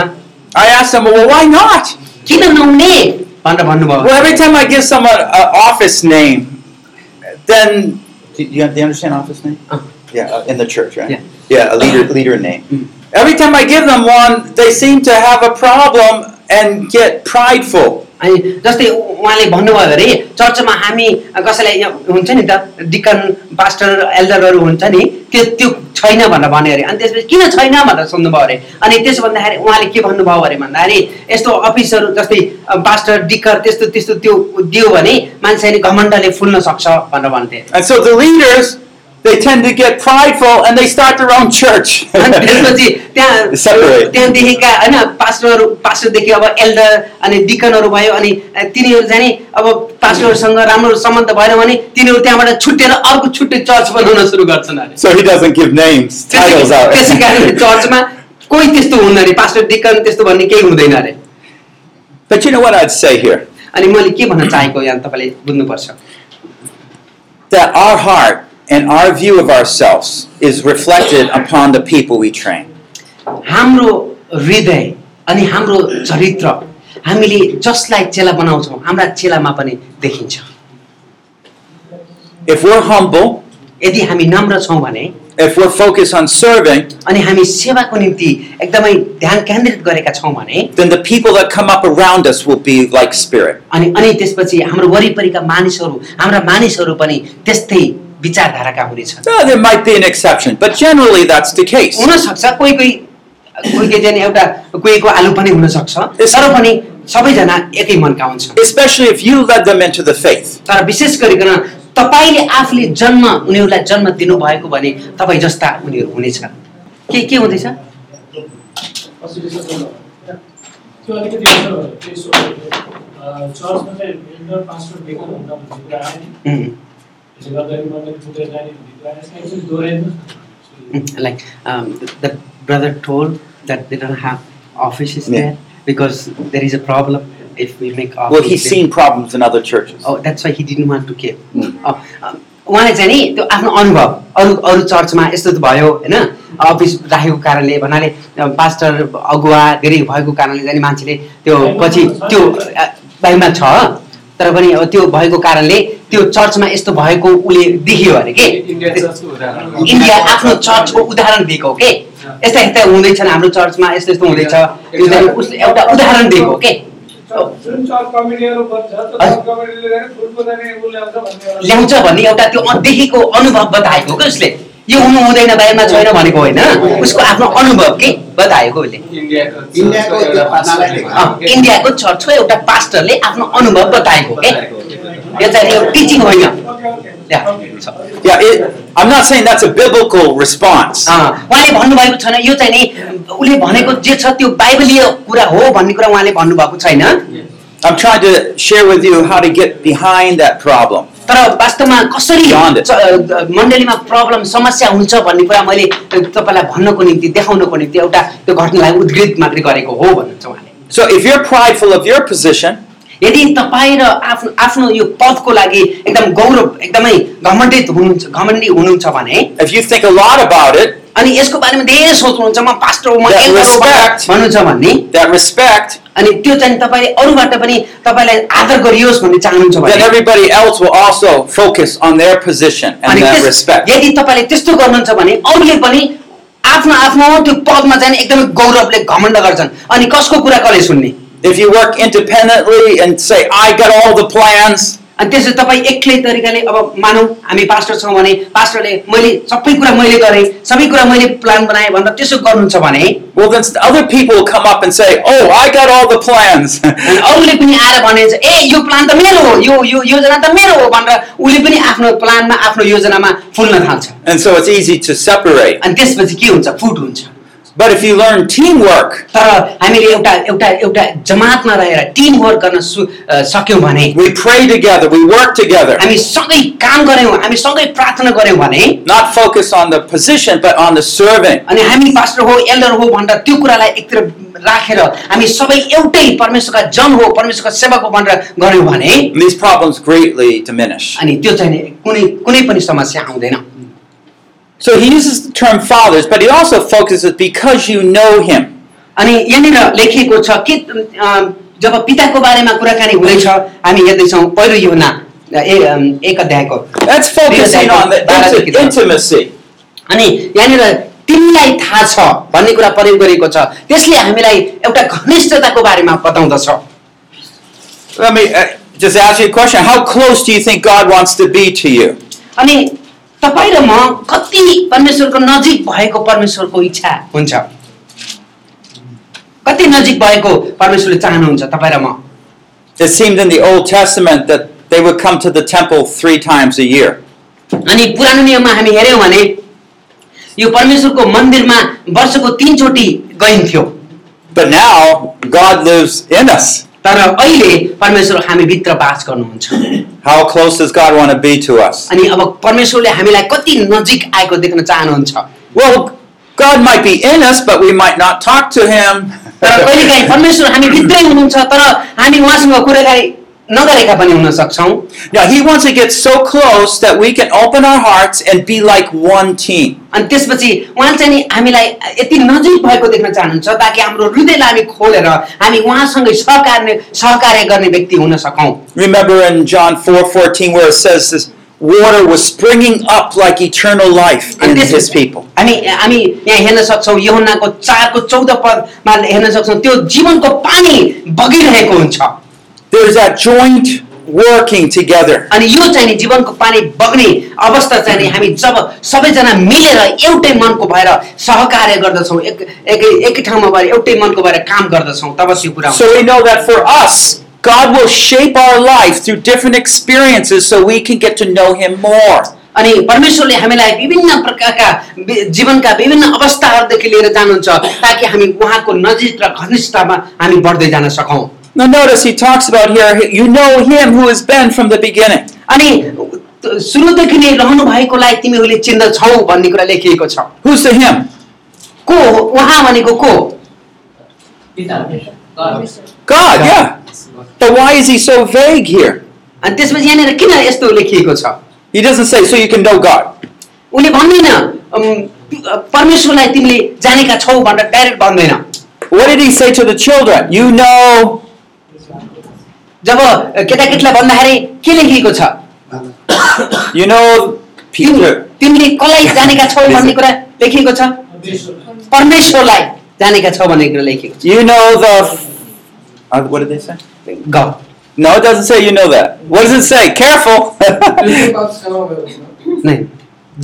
[SPEAKER 1] I asked him, "Well, why not?
[SPEAKER 2] किन नहुने भनेर भन्नुभयो
[SPEAKER 1] Well, every time I give someone an office name, then do you, do you understand office name?
[SPEAKER 2] Uh.
[SPEAKER 1] Yeah, uh, in the church, right?
[SPEAKER 2] Yeah.
[SPEAKER 1] yeah, a leader leader name.
[SPEAKER 2] Mm.
[SPEAKER 1] Every time I give them one, they seem to have a problem and get prideful."
[SPEAKER 2] अनि जस्तै उ- उहाँले भन्नुभयो अरे चर्चमा हामी कसैलाई यहाँ हुन्छ नि त डिकन पास्टर एल्डरहरू हुन्छ नि त्यो त्यो छैन भनेर भन्यो अरे अनि त्यसपछि किन छैन भनेर सोध्नुभयो अरे अनि त्यसो भन्दाखेरि उहाँले के भन्नुभयो अरे भन्दाखेरि यस्तो अफिसहरू जस्तै अ, पास्टर डिकर त्यस्तो त्यस्तो त्यो दियो भने मान्छे नि घमण्डले फुल्न सक्छ भनेर भन्थे
[SPEAKER 1] And so the leaders they tend to get prideful and they start their own church. [laughs]
[SPEAKER 2] अनि [laughs] त्यसपछि त्यहाँ
[SPEAKER 1] Separate.
[SPEAKER 2] त्यहाँदेखिका होइन पास्टरहरू पास्टरदेखि अब एल्डर अनि डिकनहरू भयो अनि तिनीहरू जाने अब पास्टरहरूसँग राम्रो सम्बन्ध भएन भने तिनीहरू त्यहाँबाट छुट्टिएर अर्को छुट्टै चर्च बनाउन सुरु गर्छन् अरे
[SPEAKER 1] so he doesn't give names, titles out. [laughs]
[SPEAKER 2] त्यसै कारण चर्चमा कोही त्यस्तो हुन्न अरे पास्टर डिकन त्यस्तो भन्ने केही हुँदैन अरे
[SPEAKER 1] but you know what I'd say here?
[SPEAKER 2] अनि मैले के भन्न चाहेको यहाँ तपाईँले बुझ्नुपर्छ
[SPEAKER 1] That our heart and our view of ourselves is reflected upon the people we train.
[SPEAKER 2] हाम्रो हृदय अनि हाम्रो चरित्र हामीले जसलाई चेला बनाउँछौँ हाम्रा चेलामा पनि देखिन्छ
[SPEAKER 1] If we're humble,
[SPEAKER 2] यदि हामी नम्र छौँ भने
[SPEAKER 1] if we're focused on serving,
[SPEAKER 2] अनि हामी सेवाको निम्ति एकदमै ध्यान केन्द्रित गरेका छौँ भने
[SPEAKER 1] then the people that come up around us will be like spirit.
[SPEAKER 2] अनि अनि त्यसपछि हाम्रो वरिपरिका मानिसहरू हाम्रा मानिसहरू पनि त्यस्तै विचारधाराका हुनेछन्
[SPEAKER 1] Now, Ah, there might be an exception, but generally that's the case.
[SPEAKER 2] हुनसक्छ कोही कोही कोही कोही जाने एउटा कोहीको आलु पनि हुनसक्छ तर पनि सबैजना एकै मनका हुन्छन्
[SPEAKER 1] Especially if you led them into the faith.
[SPEAKER 2] तर विशेष गरिकन तपाईँले आफूले जन्म उनीहरूलाई जन्म दिनुभएको भने तपाईँ जस्ता उनीहरू हुनेछन् के के हुँदैछ
[SPEAKER 7] त्यो अलिकति अन्तर भयो, त्यो यसो अ, चर्चमा चाहिँ elder, pastor, deacon भन्दा भन्ने कुरा आयो नि।
[SPEAKER 2] उम्,
[SPEAKER 7] त्यसले गर्दाखेरि मैले छुटेर जाने भन्ने कुरा आयो। यसलाई एकचोटि दोहोऱ्याइदिनुहोस् न।
[SPEAKER 2] Mm, like um, the, the brother told that they don't have offices
[SPEAKER 1] Yeah.
[SPEAKER 2] there because there is a problem if we make office.
[SPEAKER 1] Well, he's
[SPEAKER 2] there.
[SPEAKER 1] seen problems in other churches.
[SPEAKER 2] Oh, that's why he didn't want to give.
[SPEAKER 1] Mm.
[SPEAKER 2] Oh, um, उहाँले चाहिँ नि त्यो आफ्नो अनुभव अरू अरू चर्चमा यस्तो त भयो होइन अफिस राखेको कारणले भन्नाले अ, पास्टर अगुवा धेरै भएको कारणले चाहिँ नि मान्छेले त्यो पछि त्यो अ, बाइबलमा छ तर पनि अब त्यो भएको कारणले त्यो चर्चमा यस्तो भएको उसले देखियो अरे के
[SPEAKER 5] Indian church को उदाहरण।
[SPEAKER 2] इन्डिया आफ्नो चर्चको उदाहरण दिएको हो के यस्ता यस्ता हुँदैछन् हाम्रो चर्चमा यस्तो यस्तो हुँदैछ यो चाहिँ उसले एउटा उदाहरण दिएको हो के
[SPEAKER 6] जुन चर्च कमिटीहरू बन्छ त्यो चर्च कमिटीले गरे फुलको जाने उसले आउँछ भन्ने एउटा-
[SPEAKER 2] ल्याउँछ भन्ने एउटा त्यो अनदेखिको अनुभव बताएको हो कि उसले यो हुनु हुँदैन बाहिरमा छैन भनेको होइन उसको आफ्नो अनुभव के बताएको उसले
[SPEAKER 5] India Ah, को
[SPEAKER 8] India को
[SPEAKER 5] एउटा
[SPEAKER 8] त्यो
[SPEAKER 5] pastor
[SPEAKER 8] पास्टरले
[SPEAKER 5] ले
[SPEAKER 2] अँ,
[SPEAKER 5] भनेको।
[SPEAKER 2] इन्डियाको चर्चको एउटा पास्टरले आफ्नो अनुभव बताएको हो के
[SPEAKER 5] बताएको।
[SPEAKER 2] यो चाहिँ यो टिचिङ होइन
[SPEAKER 6] ओके, ओके।
[SPEAKER 2] ल्या, छ।
[SPEAKER 1] Yeah, it, I'm not saying that's a biblical response.
[SPEAKER 2] अँ, उहाँले भन्नुभएको छैन यो चाहिँ नि उसले भनेको जे छ त्यो बाइबलीय कुरा हो भन्ने कुरा उहाँले भन्नुभएको छैन
[SPEAKER 1] I'm trying to share with you how to get behind that problem.
[SPEAKER 2] तर वास्तवमा कसरी
[SPEAKER 1] Beyond it.
[SPEAKER 2] च- मण्डलीमा प्रब्लम समस्या हुन्छ भन्ने कुरा मैले तपाईँलाई भन्नको निम्ति देखाउनको निम्ति एउटा त्यो घटनालाई उद्घृत मात्रै गरेको हो भन्नुहुन्छ उहाँले
[SPEAKER 1] So if you're prideful of your position,
[SPEAKER 2] यदि तपाईँ र आफ्नो आफ्नो यो पदको लागि एकदम गौरव एकदमै घमण्डित हुनुहुन्छ घमण्डी हुनुहुन्छ भने
[SPEAKER 1] if you think a lot about it,
[SPEAKER 2] अनि यसको बारेमा धेरै सोच्नुहुन्छ म पास्टर हो, म
[SPEAKER 1] That
[SPEAKER 2] elder हो भनेर
[SPEAKER 1] respect.
[SPEAKER 2] भन्नुहुन्छ भने
[SPEAKER 1] that respect,
[SPEAKER 2] अनि त्यो चाहिँ तपाईँले अरूबाट पनि तपाईँलाई आदर गरियोस् भन्ने चाहनुहुन्छ भने
[SPEAKER 1] then everybody else will also focus on their position and
[SPEAKER 2] अनि
[SPEAKER 1] that
[SPEAKER 2] त्यस-
[SPEAKER 1] respect.
[SPEAKER 2] यदि तपाईँले त्यस्तो गर्नुहुन्छ भने अरूले पनि आफ्नो आफ्नो त्यो पदमा जाने एकदमै गौरवले घमण्ड गर्छन् अनि कसको कुरा कसले सुन्ने
[SPEAKER 1] If you work independently and say, I got all the plans,
[SPEAKER 2] अनि त्यसपछि तपाईँ एक्लै तरिकाले अब मानौँ हामी पास्टर छौँ भने पास्टरले मैले सबै कुरा मैले गरेँ सबै कुरा मैले प्लान बनाएँ भनेर त्यसो गर्नुहुन्छ भने
[SPEAKER 1] well, then other people will come up and say, Oh, I got all the plans. [laughs]
[SPEAKER 2] अनि अरूले पनि आएर भने चाहिँ, ए यो प्लान त मेरो हो यो यो योजना त मेरो हो भनेर उसले पनि आफ्नो प्लानमा आफ्नो योजनामा फुल्न थाल्छ
[SPEAKER 1] and so it's easy to separate.
[SPEAKER 2] अनि त्यसपछि के हुन्छ फुट हुन्छ
[SPEAKER 1] But if you learn teamwork,
[SPEAKER 2] तर हामीले एउटा एउटा एउटा जमातमा रहेर टिम वर्क गर्न सु अ, सक्यौँ भने
[SPEAKER 1] we pray together, we work together,
[SPEAKER 2] हामी सँगै काम गऱ्यौँ हामी सँगै प्रार्थना गऱ्यौँ भने
[SPEAKER 1] not focus on the position, but on the serving.
[SPEAKER 2] अनि हामी पास्टर हो एल्डर हो भनेर त्यो कुरालाई एकतिर राखेर हामी सबै एउटै परमेश्वरका जन हो परमेश्वरका सेवक हो भनेर गऱ्यौँ भने
[SPEAKER 1] And these problems greatly diminish.
[SPEAKER 2] अनि त्यो चाहिँ नि कुनै कुनै पनि समस्या आउँदैन
[SPEAKER 1] So he uses the term fathers, but he also focuses because you know him.
[SPEAKER 2] अनि यहाँनिर लेखिएको छ कि अ, जब पिताको बारेमा कुराकानी हुँदैछ हामी हेर्दैछौँ पहिलो योना ए अ, एक अध्यायको
[SPEAKER 1] That's focusing on the inti- intimacy.
[SPEAKER 2] अनि यहाँनिर तिमीलाई थाहा छ भन्ने कुरा प्रयोग गरिएको छ त्यसले हामीलाई एउटा घनिष्ठताको बारेमा बताउँदछ
[SPEAKER 1] Let me uh, just ask you a question. How close do you think God wants to be to you?
[SPEAKER 2] अनि तपाईँ र म कति परमेश्वरको नजिक भएको परमेश्वरको इच्छा हुन्छ कति नजिक भएको परमेश्वरले चाहनुहुन्छ तपाईँ र म
[SPEAKER 1] It seemed in the Old Testament that they would come to the temple three times a year.
[SPEAKER 2] अनि पुरानो नियममा हामी हेऱ्यौँ भने यो परमेश्वरको मन्दिरमा वर्षको तिनचोटि गइन्थ्यो
[SPEAKER 1] But now God lives in us.
[SPEAKER 2] तर अहिले परमेश्वर हामीभित्र बास गर्नुहुन्छ
[SPEAKER 1] How close does God want to be to us?
[SPEAKER 2] अनि अब परमेश्वरले हामीलाई कति नजिक आएको देख्न चाहनुहुन्छ
[SPEAKER 1] Well, God might be in us, but we might not talk to Him.
[SPEAKER 2] तर
[SPEAKER 1] [laughs]
[SPEAKER 2] कहिलेकाहीँ परमेश्वर हामी भित्रै हुनुहुन्छ तर हामी उहाँसँग कुराकानी नगरेका पनि हुन सक्छौँ
[SPEAKER 1] Now, He wants to get so close that we can open our hearts and be like one team.
[SPEAKER 2] अनि त्यसपछि उहाँ चाहिँ नि हामीलाई यति नजिक भएको देख्न चाहनुहुन्छ ताकि हाम्रो हृदयलाई हामी खोलेर हामी उहाँसँगै सहकार्य सहकार्य गर्ने व्यक्ति हुन सकौँ
[SPEAKER 1] Remember in John 4 14, where it says this water was springing up like eternal life in
[SPEAKER 2] And this-
[SPEAKER 1] His people.
[SPEAKER 2] हामी हामी यहाँ हेर्न सक्छौँ योहन्नाको चारको चौध पदमा हेर्न सक्छौँ त्यो जीवनको पानी बगिरहेको हुन्छ
[SPEAKER 1] There's that joint working together.
[SPEAKER 2] अनि यो चाहिँ नि जीवनको पानी बग्ने अवस्था चाहिँ नि हामी जब सबैजना मिलेर एउटै मनको भएर सहकार्य गर्दछौँ एक एकै एकै ठाउँमा भएर एउटै मनको भएर काम गर्दछौँ तब यो कुरा हुन्छ।
[SPEAKER 1] So we know that for us, God will shape our life through different experiences so we can get to know Him more.
[SPEAKER 2] अनि परमेश्वरले हामीलाई विभिन्न प्रकारका वि- जीवनका विभिन्न अवस्थाहरूदेखि लिएर जानुहुन्छ ताकि हामी उहाँको नजिक र घनिष्ठतामा हामी बढ्दै जान सकौँ
[SPEAKER 1] Now notice he talks about here, you know him who has been from the beginning.
[SPEAKER 2] अनि त- सुरुदेखि नै रहनु भएकोलाई तिमीहरूले चिन्दछौ भन्ने कुरा लेखिएको छ
[SPEAKER 1] Who's the him?
[SPEAKER 2] को हो उहाँ भनेको को हो?
[SPEAKER 1] God, yeah. But why is he so vague here?
[SPEAKER 2] अनि त्यसपछि यहाँनिर किन यस्तो लेखिएको छ
[SPEAKER 1] He doesn't say, so you can know God.
[SPEAKER 2] उसले भन्दैन अम्, परमेश्वरलाई तिमीले जानेका छौ भनेर डाइरेक्ट भन्दैन
[SPEAKER 1] What did he say to the children? You know,
[SPEAKER 2] जब केटाकेटीलाई भन्दाखेरि के लेखिएको छ
[SPEAKER 1] you know
[SPEAKER 2] तिमी-
[SPEAKER 1] Peter.
[SPEAKER 2] तिमीले कसलाई जानेका छौ भन्ने कुरा लेखिएको छ परमेश्वरलाई जानेका छौ भन्ने कुरा लेखिएको छ
[SPEAKER 1] You know the. Uh, what did they say?
[SPEAKER 2] ग
[SPEAKER 1] No, it doesn't say you know that. What does it say? Careful. [laughs]
[SPEAKER 2] नै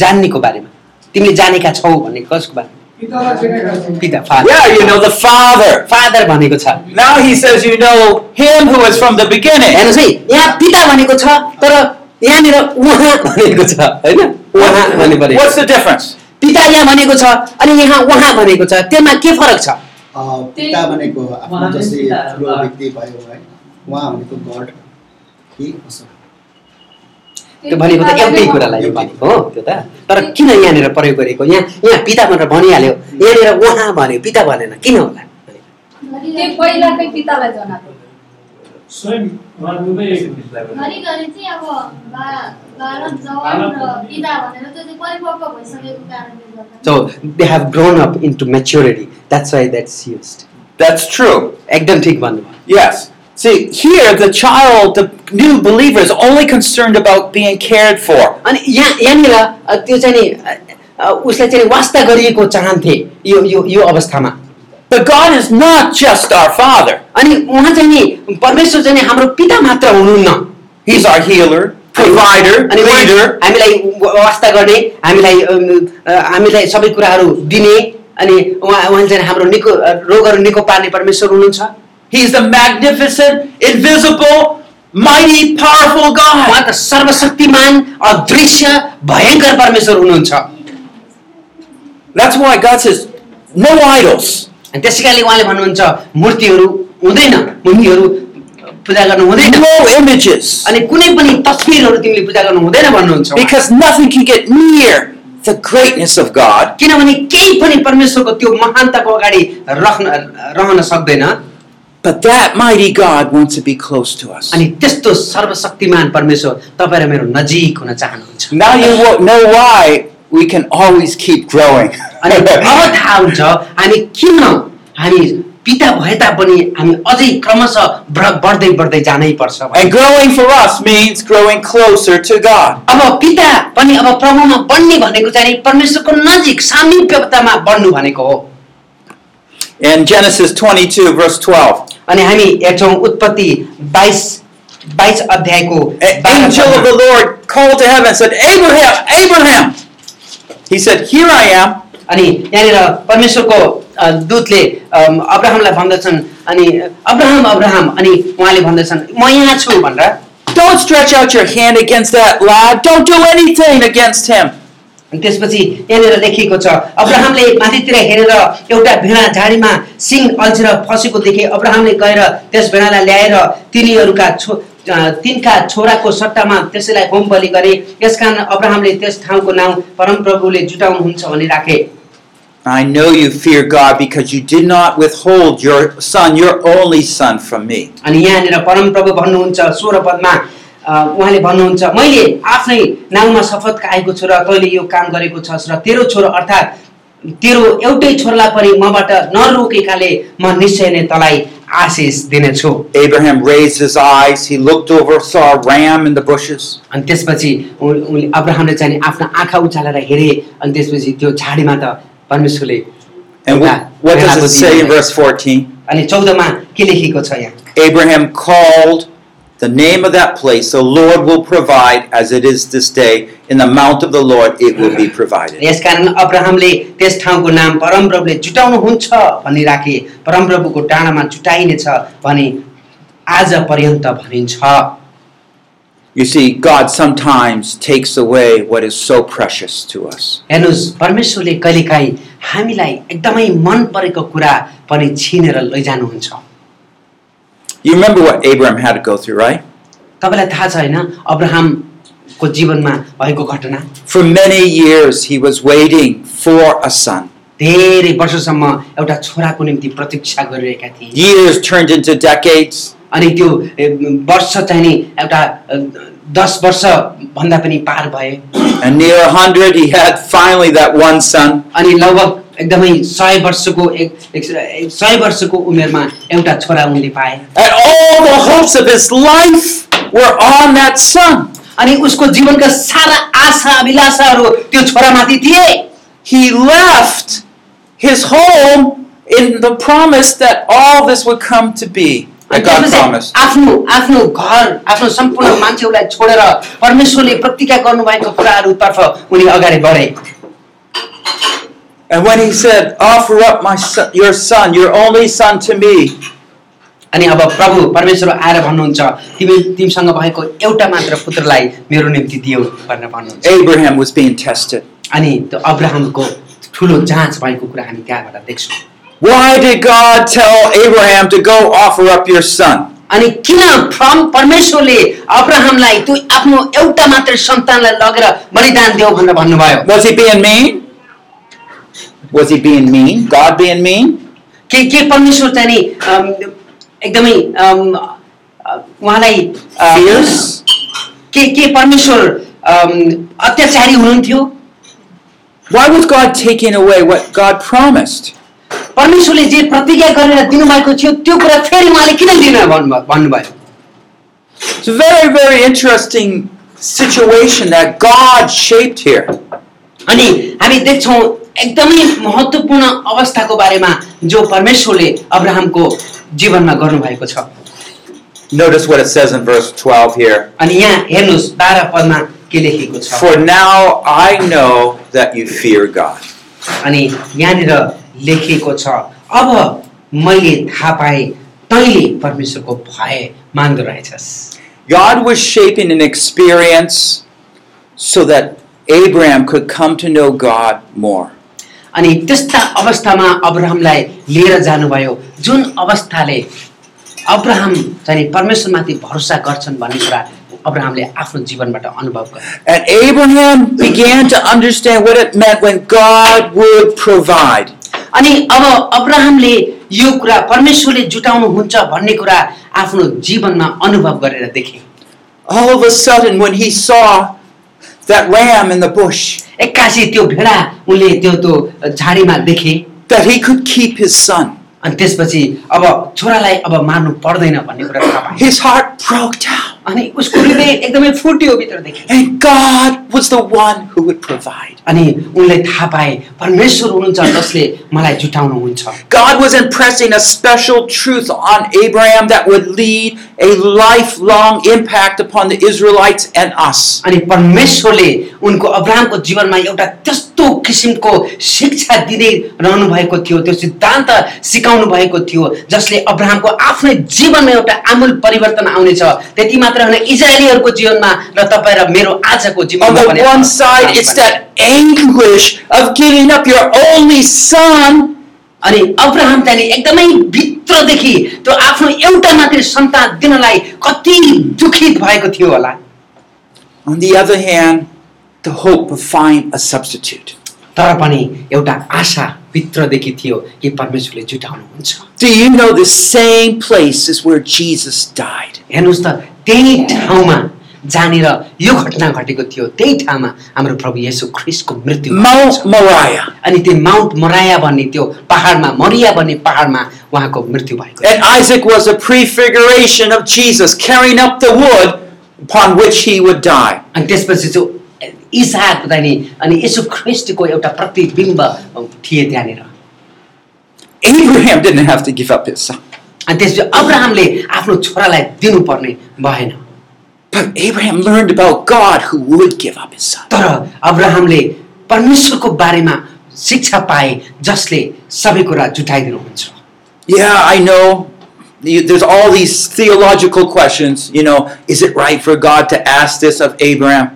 [SPEAKER 2] जान्नेको बारेमा तिमीले जानेका छौ भन्ने कसको बारेमा पिता father
[SPEAKER 1] yeah, you know the Father.
[SPEAKER 2] Father भनेको छ
[SPEAKER 1] Now he says you know him who is from the beginning.
[SPEAKER 2] हेर्नुहोस् है यहाँ पिता भनेको छ तर यहाँनिर उहाँ भनेको छ होइन उहाँ भन्ने पऱ्यो
[SPEAKER 1] What's the difference?
[SPEAKER 2] पिता यहाँ भनेको छ अनि यहाँ उहाँ भनेको छ त्यसमा के फरक छ
[SPEAKER 8] पिता भनेको आफ्नो जस्तै ठुलो व्यक्ति भयो है उहाँ भनेको गड कि असर
[SPEAKER 2] त्यो भनेको त एउटै कुरालाई यो भनेको हो त्यो त तर किन यहाँनिर प्रयोग गरेको यहाँ यहाँ पिता भनेर भनिहाल्यो यहाँनिर उहाँ भन्यो पिता भनेन किन होला
[SPEAKER 4] त्यो पहिलाकै पितालाई जनाएको
[SPEAKER 7] स्वयं उहाँ दुवै एक हुनुहुन्छ।
[SPEAKER 4] घरिघरि चाहिँ अब बा- बालक जवान र पिता भनेर त्यो चाहिँ परिपक्व भइसकेको कारणले गर्दा
[SPEAKER 2] so they have grown up into maturity that's why that's use
[SPEAKER 1] That's true.
[SPEAKER 2] एकदम ठिक भन्नुभयो
[SPEAKER 1] Yes. See, here the child, the new believer, is only concerned about being cared for.
[SPEAKER 2] अनि यहाँ यहाँनिर अ, त्यो चाहिँ नि अ, अ, उसलाई चाहिँ नि वास्ता गरिएको चाहन्थे यो यो यो अवस्थामा
[SPEAKER 1] But God is not just our Father,
[SPEAKER 2] अनि उहाँ चाहिँ नि परमेश्वर चाहिँ नि हाम्रो पिता मात्र हुनुहुन्न
[SPEAKER 1] He's our healer, provider,
[SPEAKER 2] अनि उहाँ
[SPEAKER 1] leader.
[SPEAKER 2] हामीलाई व- वास्ता गर्ने हामीलाई अम, अ, हामीलाई सबै कुराहरू दिने अनि उहाँ उहाँ चाहिँ हाम्रो निको अ, रोगहरू निको पार्ने परमेश्वर हुनुहुन्छ
[SPEAKER 1] He's the magnificent, invisible, mighty, powerful
[SPEAKER 2] उहाँ
[SPEAKER 1] God.
[SPEAKER 2] त सर्वशक्तिमान अदृश्य भयङ्कर परमेश्वर हुनुहुन्छ
[SPEAKER 1] That's why God says, no idols.
[SPEAKER 2] अनि त्यसै कारणले उहाँले भन्नुहुन्छ मूर्तिहरू हुँदैन मूर्तिहरू पूजा गर्नु हुँदैन
[SPEAKER 1] No images.
[SPEAKER 2] अनि कुनै पनि तस्बिरहरू तिमीले पूजा गर्नु हुँदैन भन्नुहुन्छ उहाँ।
[SPEAKER 1] Because nothing can get near the greatness of God.
[SPEAKER 2] किनभने केही पनि परमेश्वरको त्यो महानताको अगाडि राख्न रहन सक्दैन
[SPEAKER 1] But that mighty God wants to be close to us.
[SPEAKER 2] अनि त्यस्तो सर्वशक्तिमान परमेश्वर तपाईँ र मेरो नजिक हुन चाहनुहुन्छ
[SPEAKER 1] Now you wo- know why we can always keep growing.
[SPEAKER 2] अनि अब थाहा हुन्छ हामी किन हामी पिता भए तापनि हामी अझै क्रमशः बढ- बढ्दै बढ्दै जानै पर्छ
[SPEAKER 1] [laughs] and growing for us means growing closer to God.
[SPEAKER 2] अब पिता पनि अब प्रभुमा बढ्ने भनेको चाहिँ नि परमेश्वरको नजिक सामिप्यतामा बढ्नु भनेको हो
[SPEAKER 1] In Genesis 22, verse 12,
[SPEAKER 2] अनि हामी हेर्छौँ उत्पत्ति बाइस बाइस अध्यायको
[SPEAKER 1] an
[SPEAKER 2] 12
[SPEAKER 1] angel of the Lord called to heaven and said, Abraham, Abraham. He said, Here I am.
[SPEAKER 2] अनि यहाँनिर परमेश्वरको अ, दूतले अम, अब्राहमलाई भन्दछन् अनि अब्राहम अब्राहम अनि उहाँले भन्दछन् म यहाँ छु भनेर
[SPEAKER 1] Don't stretch out your hand against that lad. Don't do anything against him.
[SPEAKER 2] अनि त्यसपछि यहाँनिर लेखिएको छ अब्राहमले माथितिर हेरेर एउटा भेडा झाडीमा सिङ अल्छेर फसेको देखे अब्राहमले गएर त्यस भेडालाई ल्याएर तिनीहरूका छो अँ, तिनका छोराको सट्टामा त्यसैलाई होम बलि गरे यसकारण अब्राहमले त्यस ठाउँको नाउँ परमप्रभुले जुटाउनुहुन्छ भने राखे
[SPEAKER 1] I know you fear God because you did not withhold your son, your only son, from me.
[SPEAKER 2] अनि यहाँनिर परमप्रभु भन्नुहुन्छ सोह्र पदमा अ, उहाँले भन्नुहुन्छ मैले आफ्नै नाउँमा शपथ खाएको छु र तैँले यो काम गरेको छस् र तेरो छोरो अर्थात् तेरो एउटै छोरालाई पनि मबाट नरोकेकाले म निश्चय नै तँलाई आशिष दिनेछु
[SPEAKER 1] Abraham raised his eyes. He looked over, saw a ram in the bushes.
[SPEAKER 2] अनि त्यसपछि उ- उनले अब्राहमले चाहिँ आफ्ना आँखा उचालेर हेरे अनि त्यसपछि त्यो झाडीमा त परमेश्वरले
[SPEAKER 1] And what,
[SPEAKER 2] एउटा
[SPEAKER 1] what does
[SPEAKER 2] भेडाको
[SPEAKER 1] it say in
[SPEAKER 2] दिनलाई-
[SPEAKER 1] verse 14?
[SPEAKER 2] अनि चौधमा के लेखेको छ यहाँ
[SPEAKER 1] Abraham called the name of that place, the Lord will provide as it is this day. In the mount of the Lord it will be provided.
[SPEAKER 2] यसकारण अब्राहमले त्यस ठाउँको नाम परमप्रभुले जुटाउनुहुन्छ भनी राखे परमप्रभुको डाँडामा जुटाइनेछ भने आज पर्यन्त भनिन्छ
[SPEAKER 1] You see, God sometimes takes away what is so precious to us.
[SPEAKER 2] हेर्नुहोस् परमेश्वरले कहिलेकाहीँ हामीलाई एकदमै मन परेको कुरा पनि छिनेर लैजानुहुन्छ
[SPEAKER 1] You remember what Abraham had to go through, right?
[SPEAKER 2] तपाईँलाई थाहा छ होइन अब्राहमको जीवनमा भएको घटना
[SPEAKER 1] For many years, he was waiting for a son.
[SPEAKER 2] धेरै वर्षसम्म एउटा छोराको निम्ति प्रतीक्षा गरिरहेका थिए
[SPEAKER 1] Years turned into decades.
[SPEAKER 2] अनि त्यो ए, वर्ष चाहिँ नि एउटा अ, दस वर्ष भन्दा पनि पार भए
[SPEAKER 1] And near 100, he had finally that one son.
[SPEAKER 2] अनि लगभग एकदमै सय वर्षको एक एक- सय वर्षको उमेरमा एउटा छोरा उनले पाए
[SPEAKER 1] And all the hopes of his life were on that son.
[SPEAKER 2] अनि उसको जीवनका सारा आशा अभिलाषाहरू त्यो छोरामाथि थिए
[SPEAKER 1] He left his home in the promise that all this would come to be.
[SPEAKER 2] अनि
[SPEAKER 1] That God
[SPEAKER 2] त्यसपछि
[SPEAKER 1] promised.
[SPEAKER 2] आफ्नो आफ्नो घर आफ्नो सम्पूर्ण मान्छेहरूलाई छोडेर परमेश्वरले प्रतिज्ञा गर्नुभएको कुराहरूतर्फ उनी अगाडि बढे
[SPEAKER 1] And when he said, Offer up my son, your son, your only son to me,
[SPEAKER 2] अनि अब प्रभु परमेश्वर आएर भन्नुहुन्छ तिमी तिमीसँग भएको एउटा मात्र पुत्रलाई मेरो निम्ति दियो भनेर भन्नुहुन्छ
[SPEAKER 1] Abraham was being tested.
[SPEAKER 2] अनि त्यो अब्राहमको ठुलो जाँच भएको कुरा हामी त्यहाँबाट देख्छौँ
[SPEAKER 1] Why did God tell Abraham to go offer up your son?
[SPEAKER 2] अनि किन फ्रम परमेश्वरले अब्राहमलाई त्यो आफ्नो एउटा मात्र सन्तानलाई लगेर बलिदान देऊ भनेर भन्नुभयो
[SPEAKER 1] Was he being mean? Was he being mean? God being mean?
[SPEAKER 2] के के परमेश्वर चाहिँ नि अम, एकदमै अम, अ, उहाँलाई
[SPEAKER 1] Uh,
[SPEAKER 2] अ,
[SPEAKER 1] Fierce?
[SPEAKER 2] के के परमेश्वर अम, अत्याचारी हुनुहुन्थ्यो
[SPEAKER 1] Why was God taking away what God promised?
[SPEAKER 2] परमेश्वरले जे प्रतिज्ञा गरेर दिनुभएको थियो त्यो कुरा फेरि उहाँले किन लिन भन्नु भन्नुभयो
[SPEAKER 1] It's a very, very interesting situation that God shaped here.
[SPEAKER 2] अनि हामी देख्छौँ एकदमै महत्त्वपूर्ण अवस्थाको बारेमा जो परमेश्वरले अब्राहमको जीवनमा गर्नुभएको छ
[SPEAKER 1] Notice what it says in verse 12 here.
[SPEAKER 2] अनि यहाँ हेर्नुहोस् बाह्र पदमा के लेखेको छ
[SPEAKER 1] For now I know that you fear God.
[SPEAKER 2] अनि यहाँनिर लेखिएको छ अब मैले थाहा पाएँ तैँले परमेश्वरको भय मान्दो रहेछस्
[SPEAKER 1] God was shaping an experience so that Abraham could come to know God more.
[SPEAKER 2] अनि त्यस्ता अवस्थामा अब्राहमलाई लिएर जानुभयो जुन अवस्थाले अब्राहम चाहिँ परमेश्वरमाथि भरोसा गर्छन् भन्ने कुरा अब्राहमले आफ्नो जीवनबाट अनुभव गरे
[SPEAKER 1] And Abraham began to understand what it meant when God would provide.
[SPEAKER 2] अनि अब अब्राहमले यो कुरा परमेश्वरले जुटाउनुहुन्छ भन्ने कुरा आफ्नो जीवनमा अनुभव गरेर देखे
[SPEAKER 1] All of a sudden, when he saw that ram in the bush,
[SPEAKER 2] एक्कासी त्यो भेडा उनले त्यो त्यो झाडीमा देखे
[SPEAKER 1] that he could keep his son,
[SPEAKER 2] अनि त्यसपछि अब छोरालाई अब मार्नु पर्दैन भन्ने कुरा थाहा पाए
[SPEAKER 1] his heart broke down.
[SPEAKER 2] अनि उसको हृदय एकदमै फुट्यो भित्रदेखि
[SPEAKER 1] And God was the one who would provide.
[SPEAKER 2] अनि उनले थाहा पाए परमेश्वर हुनुहुन्छ जसले मलाई जुटाउनुहुन्छ
[SPEAKER 1] God was impressing a special truth on Abraham that would lead a lifelong impact upon the Israelites and us.
[SPEAKER 2] अनि परमेश्वरले उनको अब्राहमको जीवनमा एउटा त्यस्तो किसिमको शिक्षा दिँदै रहनु भएको थियो त्यो सिद्धान्त सिकाउनु भएको थियो जसले अब्राहमको आफ्नै जीवनमा एउटा आमूल परिवर्तन आउनेछ त्यति मात्र होइन इजरायलीहरूको जीवनमा र तपाईँ र मेरो आजको
[SPEAKER 1] On
[SPEAKER 2] जीवनमा
[SPEAKER 1] the
[SPEAKER 2] पनि
[SPEAKER 1] one side, it's that anguish of giving up your only son
[SPEAKER 2] अनि अब्राहम त्यहाँनिर एकदमै भित्रदेखि त्यो आफ्नो एउटा मात्रै सन्तान दिनलाई कति दुखित भएको थियो होला
[SPEAKER 1] On the other hand, the hope of find a substitute.
[SPEAKER 2] तर पनि एउटा आशा भित्रदेखि थियो कि परमेश्वरले जुटाउनुहुन्छ
[SPEAKER 1] Do you know the same place is where Jesus died?
[SPEAKER 2] हेर्नुहोस् त त्यही ठाउँमा जहाँनिर यो घटना घटेको थियो त्यही ठाउँमा हाम्रो प्रभु येशू ख्रिस्टको मृत्यु भएको
[SPEAKER 1] Mount
[SPEAKER 2] छ।
[SPEAKER 1] Moriah.
[SPEAKER 2] अनि त्यो माउन्ट मराया भन्ने त्यो पहाडमा मरिया भन्ने पहाडमा उहाँको मृत्यु भएको थियो।
[SPEAKER 1] And Isaac was a prefiguration of Jesus, carrying up the wood upon which he would die.
[SPEAKER 2] अनि त्यसपछि चाहिँ इसाक जाने अनि यसो ख्रिस्टको एउटा प्रतिबिम्ब थिए त्यहाँनिर
[SPEAKER 1] Abraham didn't have to give up his son.
[SPEAKER 2] अनि त्यसपछि अब्राहमले आफ्नो छोरालाई दिनुपर्ने भएन
[SPEAKER 1] But Abraham learned about God who would give up his son.
[SPEAKER 2] तर अब्राहमले परमेश्वरको बारेमा शिक्षा पाए जसले सबै कुरा जुटाइदिनुहुन्छ
[SPEAKER 1] Yeah, I know. You, there's all these theological questions. You know, is it right for God to ask this of Abraham?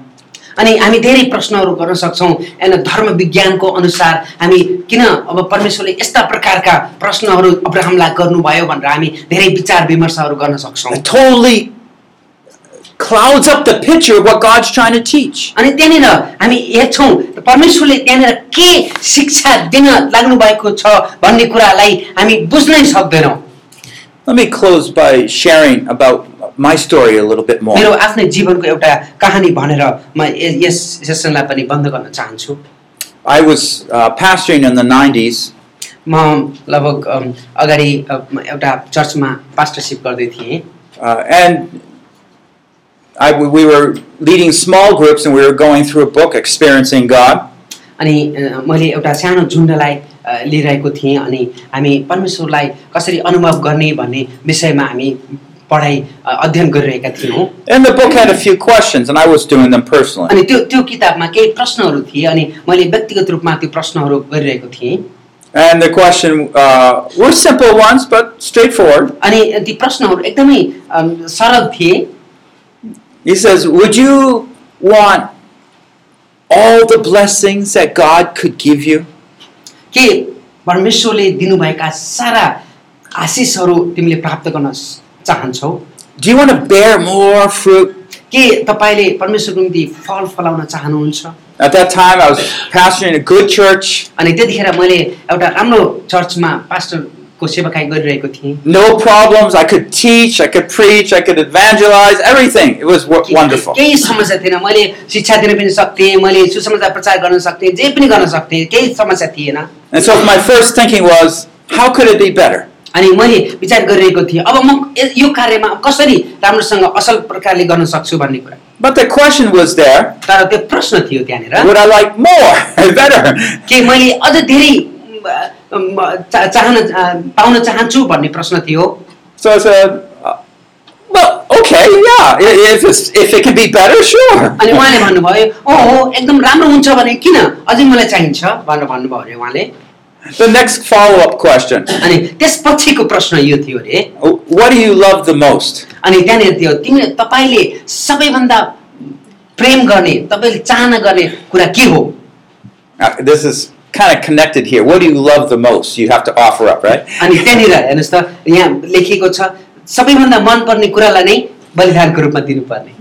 [SPEAKER 2] अनि हामी धेरै प्रश्नहरू गर्न सक्छौँ होइन धर्म विज्ञानको अनुसार हामी किन अब परमेश्वरले यस्ता प्रकारका प्रश्नहरू अब्राहमलाई गर्नुभयो भनेर हामी धेरै विचार विमर्शहरू गर्न सक्छौँ
[SPEAKER 1] It totally clouds up the picture of what God's trying to teach.
[SPEAKER 2] अनि त्यहाँनिर हामी हेर्छौँ परमेश्वरले त्यहाँनिर के शिक्षा दिन लाग्नु भएको छ भन्ने कुरालाई हामी बुझ्नै सक्दैनौँ
[SPEAKER 1] Let me close by sharing about my story a little bit more.
[SPEAKER 2] मेरो आफ्नै जीवनको एउटा कहानी भनेर म य- यस सेसनलाई पनि बन्द गर्न चाहन्छु
[SPEAKER 1] I was uh, pastoring in the 90s,
[SPEAKER 2] म लगभग अम, अगाडि अ, म एउटा चर्चमा पास्टरसिप गर्दै थिएँ
[SPEAKER 1] uh, and I, we were leading small groups and we were going through a book, Experiencing God.
[SPEAKER 2] अनि अ, मैले एउटा सानो झुन्डलाई अ, लिइरहेको थिएँ अनि हामी परमेश्वरलाई कसरी अनुभव गर्ने भन्ने विषयमा हामी पढाइ अ, अध्ययन गरिरहेका थियौँ
[SPEAKER 1] And the book had a few questions, and I was doing them personally.
[SPEAKER 2] अनि त्यो त्यो किताबमा केही प्रश्नहरू थिए अनि मैले व्यक्तिगत रूपमा त्यो प्रश्नहरू गरिरहेको थिएँ
[SPEAKER 1] And the question uh, were simple ones, but straightforward.
[SPEAKER 2] अनि ती प्रश्नहरू एकदमै अम, सरल थिए
[SPEAKER 1] He says, Would you want all the blessings that God could give you?
[SPEAKER 2] के परमेश्वरले दिनुभएका सारा आशिषहरू तिमीले प्राप्त गर्न स- चाहन्छौ
[SPEAKER 1] Do you want to bear more fruit?
[SPEAKER 2] के तपाईँले परमेश्वरको निम्ति फल फलाउन चाहनुहुन्छ
[SPEAKER 1] At that time, I was pastoring a good church,
[SPEAKER 2] अनि त्यतिखेर मैले एउटा राम्रो चर्चमा पास्टरको सेवाकाई गरिरहेको थिएँ
[SPEAKER 1] no problems. I could teach, I could preach, I could evangelize, everything. It was w- wonderful.
[SPEAKER 2] केही समस्या थिएन मैले शिक्षा दिन पनि सक्थेँ मैले सुसमाचार प्रचार गर्न सक्थेँ जे पनि गर्न सक्थेँ केही समस्या थिएन
[SPEAKER 1] And so, my first thinking was, How could it be better?
[SPEAKER 2] अनि मैले विचार गरिरहेको थिएँ अब म य- यो कार्यमा कसरी राम्रोसँग असल प्रकारले गर्न सक्छु भन्ने कुरा
[SPEAKER 1] But the question was there
[SPEAKER 2] तर त्यो प्रश्न थियो त्यहाँनिर
[SPEAKER 1] would I like more, [laughs] better?
[SPEAKER 2] के मैले अझ धेरै म, म, चा- चाहन अ, पाउन चाहन्छु भन्ने प्रश्न थियो
[SPEAKER 1] So I said, uh, well, okay, yeah. i- If, it's, if it can be better, sure.
[SPEAKER 2] अनि उहाँले भन्नुभयो ओ हो एकदम राम्रो हुन्छ भने किन अझै मलाई चाहिन्छ भनेर भन्नुभयो अरे उहाँले
[SPEAKER 1] The next follow up question
[SPEAKER 2] अनि त्यसपछिको प्रश्न यो थियो अरे
[SPEAKER 1] What do you love the most?
[SPEAKER 2] अनि त्यहाँनिर थियो तिमीले तपाईँले सबैभन्दा प्रेम गर्ने तपाईँले चाहना गर्ने कुरा के हो
[SPEAKER 1] Uh, this is kind of connected here. What do you love the most? You have to offer up, right?
[SPEAKER 2] अनि त्यहाँनिर हेर्नुहोस् त यहाँ लेखिएको छ सबैभन्दा मनपर्ने कुरालाई नै बलिदानको रूपमा दिनुपर्ने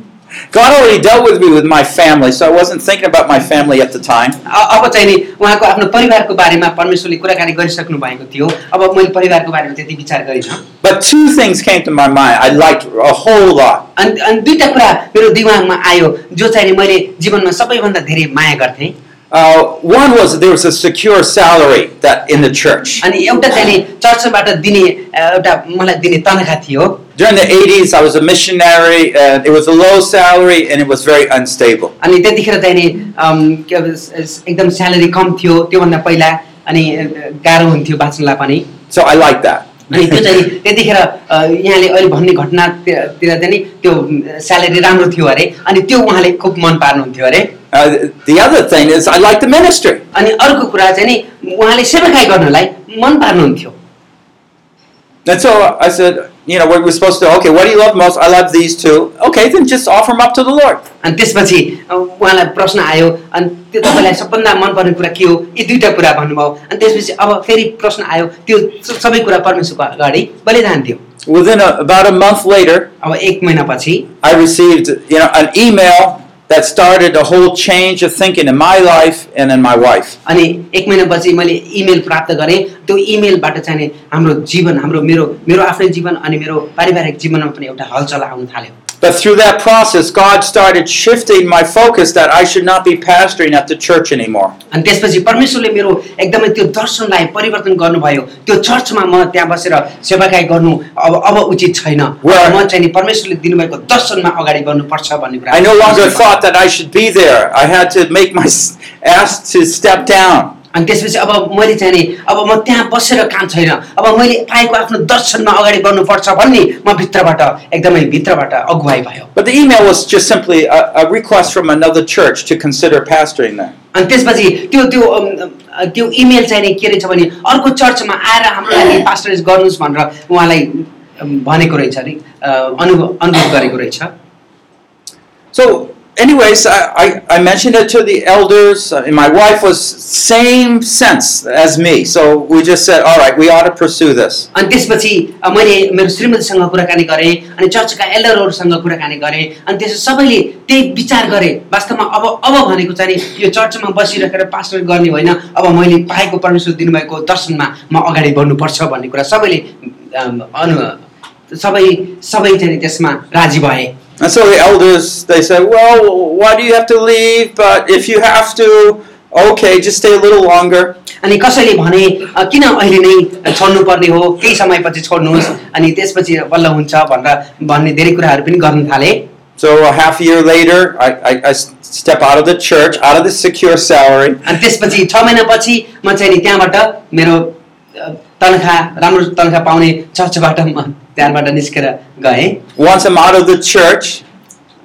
[SPEAKER 1] God already dealt with me with my family, so I wasn't thinking about my family at the time.
[SPEAKER 2] अ- अब चाहिँ नि उहाँको आफ्नो परिवारको बारेमा परमेश्वरले कुराकानी गरिसक्नु भएको थियो अब मैले परिवारको बारेमा त्यति विचार गरिनँ
[SPEAKER 1] But two things came to my mind I liked a whole lot.
[SPEAKER 2] अनि अनि दुईवटा कुरा मेरो दिमागमा आयो जो चाहिँ नि मैले जीवनमा सबैभन्दा धेरै माया गर्थेँ
[SPEAKER 1] Uh, one was there was a secure salary that in the church.
[SPEAKER 2] अनि एउटा चाहिँ नि चर्चबाट दिने अ, एउटा मलाई दिने तनखा थियो
[SPEAKER 1] during the 80s, I was a missionary, and it was a low salary, and it was very unstable.
[SPEAKER 2] अनि त्यतिखेर चाहिँ नि अम, के अब स- स- एकदम स्यालेरी कम थियो त्योभन्दा पहिला अनि अ, गाह्रो हुन्थ्यो बाँच्नलाई पनि
[SPEAKER 1] So I like that.
[SPEAKER 2] अनि त्यो चाहिँ त्यतिखेर अ, यहाँले अहिले भन्ने घटनातिर चाहिँ नि त्यो स्यालेरी राम्रो थियो अरे अनि त्यो उहाँले खुब मन पार्नुहुन्थ्यो अरे
[SPEAKER 1] Uh, the other thing is, I like the ministry.
[SPEAKER 2] अनि अर्को कुरा चाहिँ नि उहाँले सेवाकाई गर्नलाई मन पार्नुहुन्थ्यो
[SPEAKER 1] And so I said, you know, we were supposed to, okay, what do you love most? I love these two. Okay, then just offer them up to the Lord.
[SPEAKER 2] अनि त्यसपछि अ, उहाँलाई प्रश्न आयो अनि त्यो तपाईँलाई सबभन्दा मनपर्ने कुरा के हो यी दुईवटा कुरा भन्नुभयो अनि त्यसपछि अब फेरि प्रश्न आयो त्यो स- सबै कुरा परमेश्वरको अगाडि बलिदान्थ्यो
[SPEAKER 1] Within a, about a month later,
[SPEAKER 2] अब एक महिनापछि
[SPEAKER 1] I received, you know, an email that started a whole change of thinking in my life and in my wife.
[SPEAKER 2] अनि एक महिनापछि मैले इमेल प्राप्त गरेँ त्यो इमेलबाट चाहिँ नि हाम्रो जीवन हाम्रो मेरो मेरो आफ्नै जीवन अनि मेरो पारिवारिक जीवनमा पनि एउटा हलचल आउन थाल्यो
[SPEAKER 1] But through that process, God started shifting my focus that I should not be pastoring at the church anymore.
[SPEAKER 2] अनि त्यसपछि परमेश्वरले मेरो एकदमै त्यो दर्शनलाई परिवर्तन गर्नुभयो त्यो चर्चमा म त्यहाँ बसेर सेवाकाई गर्नु अब अब उचित छैन
[SPEAKER 1] Where-
[SPEAKER 2] म चाहिँ नि परमेश्वरले दिनुभएको दर्शनमा अगाडि बढ्नुपर्छ भन्ने कुरा
[SPEAKER 1] I no longer thought that I should be there. I had to make my s- ask to step down.
[SPEAKER 2] अनि त्यसपछि अब मैले चाहिँ नि अब म त्यहाँ बसेर काम छैन अब मैले पाएको आफ्नो दर्शनमा अगाडि बढ्नुपर्छ भन्ने म भित्रबाट एकदमै भित्रबाट अगुवाई भयो
[SPEAKER 1] But the email was just simply a, a request from another church to consider pastoring there.
[SPEAKER 2] अनि त्यसपछि त्यो त्यो अम, अ, त्यो इमेल चाहिँ नि के रहेछ भने अर्को चर्चमा आएर हाम्रो लागि पास्टरेज गर्नुहोस् भनेर उहाँलाई अम, भनेको रहेछ अरे अ, अनुभव अनुभव गरेको रहेछ
[SPEAKER 1] So, anyways, I, I, I mentioned it to the elders, uh, and my wife was same sense as me. So we just said, all right, we ought to pursue this.
[SPEAKER 2] अनि त्यसपछि अ, मैले मेरो श्रीमतीसँग कुराकानी गरेँ अनि चर्चका एल्डरहरूसँग कुराकानी गरेँ अनि त्यसपछि सबैले त्यही विचार गरे वास्तवमा अब अब भनेको चाहिँ नि यो चर्चमा बसिराखेर पास्टर गर्ने होइन अब मैले पाएको परमेश्वर दिनुभएको दर्शनमा म अगाडि बढ्नुपर्छ भन्ने कुरा सबैले अम, अनु सबै सबै चाहिँ नि त्यसमा राजी भए
[SPEAKER 1] And so the elders, they said, well, why do you have to leave? But if you have to, okay, just stay a little longer.
[SPEAKER 2] अनि कसैले भने "अ, किन अहिले नै छोड्नु पर्ने हो केही समयपछि छोड्नुहोस् अनि त्यसपछि बल्ल हुन्छ भनेर भन्ने धेरै कुराहरू पनि गर्न थाले
[SPEAKER 1] So a half year later, I, I, I s- step out of the church, out of the secure salary,
[SPEAKER 2] अनि त्यसपछि छ महिनापछि म चाहिँ नि त्यहाँबाट मेरो अ, तनखा राम्रो तनखा पाउने चर्चबाट म त्यहाँबाट निस्केर गएँ
[SPEAKER 1] Once I'm out of the church,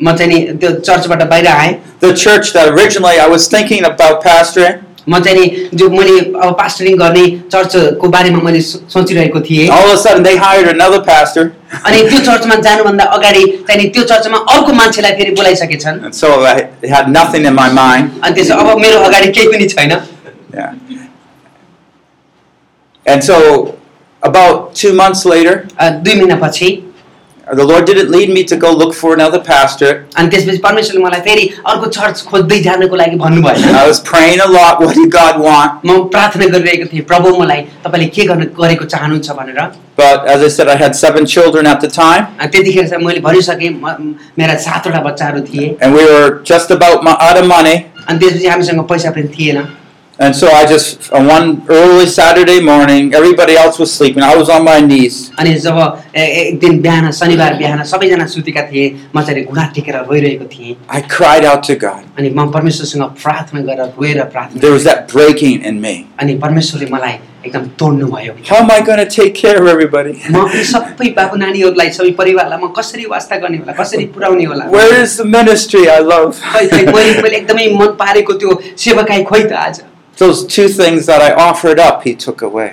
[SPEAKER 2] म चाहिँ नि त्यो चर्चबाट बाहिर आएँ
[SPEAKER 1] the church that originally I was thinking about pastoring,
[SPEAKER 2] म चाहिँ नि जो मैले अब पास्टरिङ गर्ने चर्चको बारेमा मैले सो- सोचिरहेको थिएँ
[SPEAKER 1] all of a sudden they hired another pastor,
[SPEAKER 2] अनि त्यो चर्चमा जानुभन्दा अगाडि चाहिँ नि त्यो चर्चमा अर्को मान्छेलाई फेरि बोलाइसकेछन्
[SPEAKER 1] and so I had nothing in my mind.
[SPEAKER 2] अनि त्यसो अब मेरो अगाडि केही पनि छैन
[SPEAKER 1] Yeah. And so about two months later,
[SPEAKER 2] अ, दुई महिनापछि
[SPEAKER 1] the Lord didn't lead me to go look for another pastor.
[SPEAKER 2] अनि त्यसपछि परमेश्वरले मलाई फेरि अर्को चर्च खोज्दै जानको लागि भन्नुभयो
[SPEAKER 1] I was praying a lot. What did God want?
[SPEAKER 2] म प्रार्थना गरिरहेको थिएँ प्रभु मलाई तपाईँले के गर्न गरेको चाहनुहुन्छ भनेर
[SPEAKER 1] But as I said, I had seven children at the time,
[SPEAKER 2] अनि त्यतिखेर चाहिँ मैले भनिसकेँ म- म- मेरा सातवटा बच्चाहरू थिए
[SPEAKER 1] and we were just about mo- out of money.
[SPEAKER 2] अनि त्यसपछि हामीसँग पैसा पनि थिएन
[SPEAKER 1] And so I just, on one early Saturday morning, everybody else was sleeping. I was on my knees.
[SPEAKER 2] अनि जब ए- ए- एक दिन बिहान शनिबार बिहान सबैजना सुतेका थिए म चाहिँ घुँडा टेकेर रोइरहेको थिएँ
[SPEAKER 1] I cried out to God.
[SPEAKER 2] अनि म परमेश्वरसँग प्रार्थना गरेर रोएर प्रार्थना
[SPEAKER 1] There was that breaking in me.
[SPEAKER 2] अनि परमेश्वरले मलाई एकदम तोड्नुभयो
[SPEAKER 1] How am I going to take care of everybody? [laughs]
[SPEAKER 2] म यी सबै बाबु नानीहरूलाई सबै परिवारलाई म कसरी वास्ता गर्ने होला कसरी पुर्याउने होला
[SPEAKER 1] Where is the ministry I love?
[SPEAKER 2] खै- खै, मैले मैले एकदमै मन पारेको त्यो सेवाकाई खोइ त आज
[SPEAKER 1] Those two things that I offered up, He took away.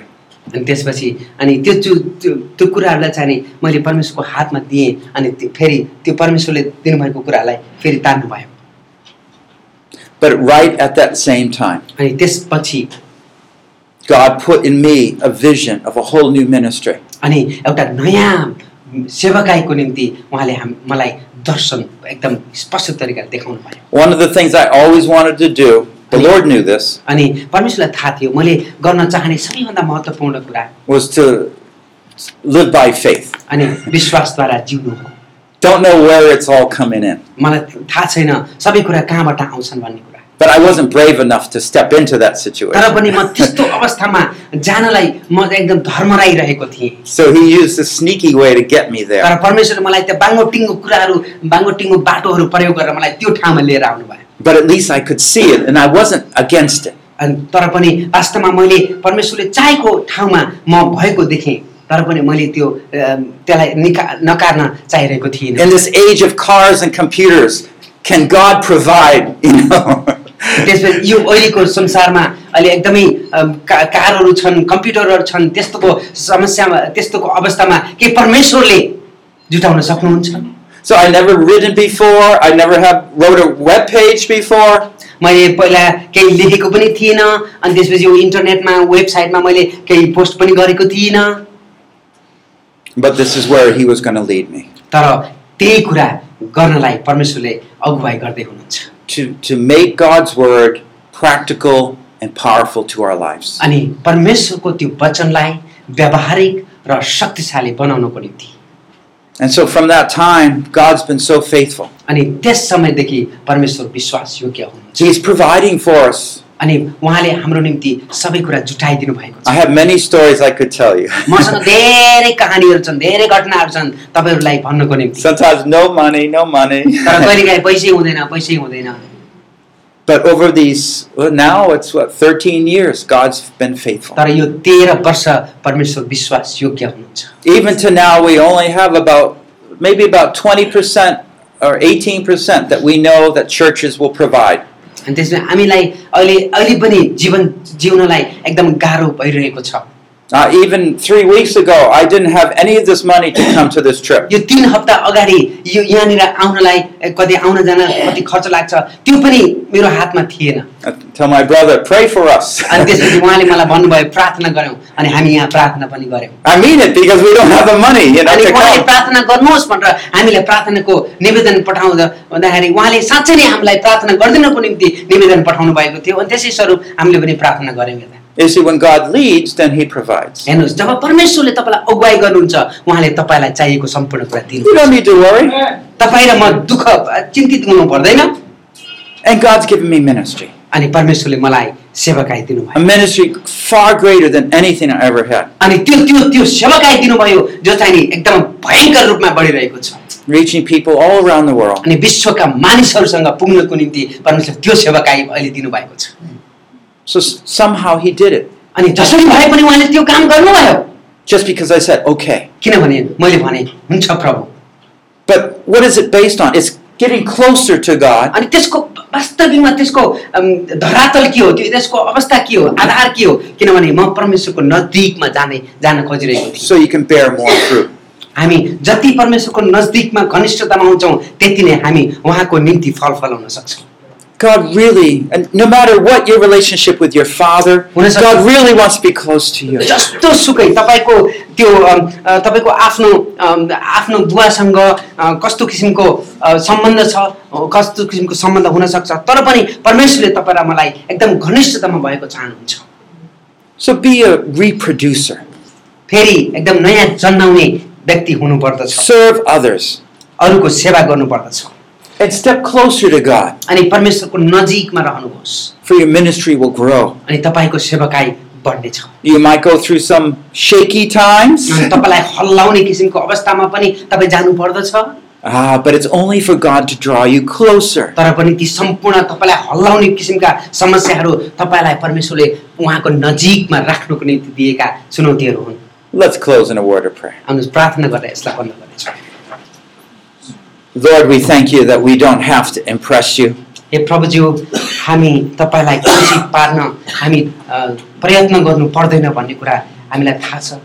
[SPEAKER 2] अनि त्यसपछि अनि त्यो त्यो त्यो- त्यो कुराहरूलाई चाहिँ नि मैले परमेश्वरको हातमा दिएँ अनि त्यो फेरि त्यो परमेश्वरले दिनुभएको कुरालाई फेरि तान्नुभयो
[SPEAKER 1] But right at that same time,
[SPEAKER 2] अनि त्यसपछि
[SPEAKER 1] God put in me a vision of a whole new ministry.
[SPEAKER 2] अनि एउटा नयाँ सेवाकाईको निम्ति उहाँले हाम मलाई दर्शन एकदम स्पष्ट तरिकाले देखाउनु भयो
[SPEAKER 1] One of the things I always wanted to do, the Lord knew this,
[SPEAKER 2] अनि परमेश्वरलाई थाहा थियो मैले गर्न चाहने सबैभन्दा महत्त्वपूर्ण कुरा
[SPEAKER 1] was to live by faith.
[SPEAKER 2] अनि विश्वासद्वारा जिउनु हो
[SPEAKER 1] Don't know where it's all coming in.
[SPEAKER 2] मलाई थाहा छैन सबै कुरा कहाँबाट आउँछन् भन्ने कुरा
[SPEAKER 1] But I wasn't brave enough to step into that
[SPEAKER 2] तर
[SPEAKER 1] situation.
[SPEAKER 2] पनि म त्यस्तो अवस्थामा जानलाई म एकदम धर्मराइरहेको थिएँ
[SPEAKER 1] So he used a sneaky way to get me there.
[SPEAKER 2] तर परमेश्वरले मलाई त्यो बाङ्गो टिङ्गो कुराहरू बाङ्गो टिङ्गो बाटोहरू प्रयोग गरेर मलाई त्यो ठाउँमा लिएर आउनुभयो
[SPEAKER 1] But at least I could see it and I wasn't against it.
[SPEAKER 2] अनि तर पनि वास्तवमा मैले परमेश्वरले चाहेको ठाउँमा म भएको देखेँ तर पनि मैले त्यो अम, त्यसलाई निका नकार्न चाहिरहेको थिइनँ
[SPEAKER 1] In this age of cars and computers, can God provide, [laughs] you know?
[SPEAKER 2] त्यसपछि यो अहिलेको संसारमा अहिले एकदमै अम, का- कारहरू छन् कम्प्युटरहरू छन् त्यस्तोको समस्यामा त्यस्तोको अवस्थामा के परमेश्वरले जुटाउन सक्नुहुन्छ
[SPEAKER 1] so I never ridden before, I never have wrote a web page before.
[SPEAKER 2] मैले पहिला केही लेखेको पनि थिइनँ अनि त्यसपछि यो इन्टरनेटमा वेबसाइटमा मैले केही पोस्ट पनि गरेको थिइनँ
[SPEAKER 1] But this is where he was going to lead me
[SPEAKER 2] तर त्यही कुरा गर्नलाई परमेश्वरले अगुवाई गर्दै हुनुहुन्छ
[SPEAKER 1] to, to make God's word practical and powerful to our lives.
[SPEAKER 2] अनि परमेश्वरको त्यो वचनलाई व्यावहारिक र शक्तिशाली बनाउनको निम्ति
[SPEAKER 1] And so from that time, God's been so faithful.
[SPEAKER 2] अनि त्यस समयदेखि परमेश्वर विश्वास योग्य हुनुहुन्छ
[SPEAKER 1] He's providing for us.
[SPEAKER 2] अनि उहाँले हाम्रो निम्ति सबै कुरा जुटाइदिनु भएको छ
[SPEAKER 1] I have many stories I could tell you.
[SPEAKER 2] मसँग धेरै कहानीहरू छन् धेरै घटनाहरू छन् तपाईँहरूलाई भन्नको निम्ति
[SPEAKER 1] [laughs] Sometimes no money, no money.
[SPEAKER 2] तर कहिलेकाहीँ पैसै हुँदैन पैसै हुँदैन
[SPEAKER 1] [laughs] but over these, well, now it's what, 13 years, God's been faithful.
[SPEAKER 2] तर यो तेह्र वर्ष परमेश्वर विश्वास योग्य हुनुहुन्छ
[SPEAKER 1] Even to now, we only have about, maybe about 20% or 18% that we know that churches will provide.
[SPEAKER 2] अनि त्यसमा हामीलाई अहिले अहिले पनि जीवन जिउनलाई एकदम गाह्रो भइरहेको छ
[SPEAKER 1] Uh, even three weeks ago, I didn't have any of this money to come to this trip.
[SPEAKER 2] यो तिन हप्ता अगाडि यो यहाँनिर आउनलाई ए, कति आउन जान कति खर्च लाग्छ त्यो पनि मेरो हातमा थिएन
[SPEAKER 1] I tell my brother, pray for
[SPEAKER 2] [laughs]
[SPEAKER 1] us.
[SPEAKER 2] अनि त्यसपछि
[SPEAKER 1] I
[SPEAKER 2] उहाँले मलाई भन्नुभयो प्रार्थना गऱ्यौँ अनि हामी यहाँ प्रार्थना पनि गऱ्यौँ
[SPEAKER 1] mean it because we don't have the money, you know,
[SPEAKER 2] अनि
[SPEAKER 1] to
[SPEAKER 2] उहाँले
[SPEAKER 1] come.
[SPEAKER 2] प्रार्थना गर्नुहोस् भनेर हामीले प्रार्थनाको निवेदन पठाउँदा भन्दाखेरि उहाँले साँच्चै नै हामीलाई प्रार्थना गरिदिनको निम्ति निवेदन पठाउनु भएको थियो अनि त्यसै स्वरूप हामीले पनि प्रार्थना गऱ्यौँ यता
[SPEAKER 1] You see, when God leads, then He provides.
[SPEAKER 2] हेर्नुहोस् जब परमेश्वरले तपाईँलाई अगुवाई गर्नुहुन्छ उहाँले तपाईँलाई चाहिएको सम्पूर्ण कुरा दिनु
[SPEAKER 1] You don't need to worry.
[SPEAKER 2] तपाईँ र म दुःख चिन्तित हुनु पर्दैन
[SPEAKER 1] And God's given me ministry.
[SPEAKER 2] अनि परमेश्वरले मलाई सेवकाई दिनुभयो
[SPEAKER 1] A ministry far greater than anything I ever had.
[SPEAKER 2] अनि त्यो त्यो त्यो सेवकाई दिनुभयो जो चाहिँ नि एकदम भयङ्कर रूपमा बढिरहेको छ
[SPEAKER 1] Reaching people all around the world.
[SPEAKER 2] अनि विश्वका मानिसहरूसँग पुग्नको निम्ति परमेश्वरले त्यो सेवकाई अहिले दिनुभएको छ
[SPEAKER 1] So s- somehow He did it.
[SPEAKER 2] अनि जसरी भए पनि उहाँले त्यो काम गर्नुभयो
[SPEAKER 1] Just because I said, okay.
[SPEAKER 2] किनभने मैले भने हुन्छ प्रभु
[SPEAKER 1] But what is it based on? It's getting closer to God
[SPEAKER 2] अनि त्यसको वास्तविकमा त्यसको अम, धरातल के हो त्यो त्यसको अवस्था के हो आधार के हो किनभने म परमेश्वरको नजिकमा जाने जान खोजिरहेको थिएँ
[SPEAKER 1] so you can bear more fruit.
[SPEAKER 2] हामी जति परमेश्वरको नजदिकमा घनिष्ठतामा हुन्छौँ त्यति नै हामी उहाँको निम्ति फल फलाउन सक्छौँ
[SPEAKER 1] God really, and no matter what your relationship with your father,
[SPEAKER 2] When is that-
[SPEAKER 1] God really wants to be close to you.
[SPEAKER 2] जस्तो सुकै तपाईँको त्यो अम, अ, तपाईँको आफ्नो अम, आफ्नो बुवासँग अ, कस्तो किसिमको अ, सम्बन्ध छ अ, कस्तो किसिमको सम्बन्ध हुनसक्छ तर पनि परमेश्वरले तपाईँ र मलाई एकदम घनिष्ठतामा भएको चाहनुहुन्छ
[SPEAKER 1] So be a reproducer.
[SPEAKER 2] फेरि एकदम नयाँ जन्माउने व्यक्ति हुनुपर्दछ
[SPEAKER 1] Serve others
[SPEAKER 2] अरूको सेवा गर्नुपर्दछ
[SPEAKER 1] and step closer to God,
[SPEAKER 2] अनि परमेश्वरको नजिकमा रहनुहोस्
[SPEAKER 1] for your ministry will grow.
[SPEAKER 2] अनि तपाईँको सेवकाई बढ्नेछ
[SPEAKER 1] You might go through some shaky [laughs] times,
[SPEAKER 2] अनि तपाईँलाई हल्लाउने किसिमको अवस्थामा पनि तपाईँ जानुपर्दछ
[SPEAKER 1] ah, but it's only for God to draw you closer.
[SPEAKER 2] तर पनि ती सम्पूर्ण तपाईँलाई हल्लाउने किसिमका समस्याहरू तपाईँलाई परमेश्वरले उहाँको नजिकमा राख्नुको निम्ति दिएका चुनौतीहरू हुन्
[SPEAKER 1] Let's close in a word of prayer.
[SPEAKER 2] हामी प्रार्थना गरेर यसलाई बन्द गर्नेछौँ
[SPEAKER 1] Lord, we thank you that we don't have to impress you.
[SPEAKER 2] हे प्रभुज्यू हामी तपाईँलाई खुसी पार्न हामी अ, प्रयत्न गर्नु पर्दैन भन्ने कुरा हामीलाई थाहा छ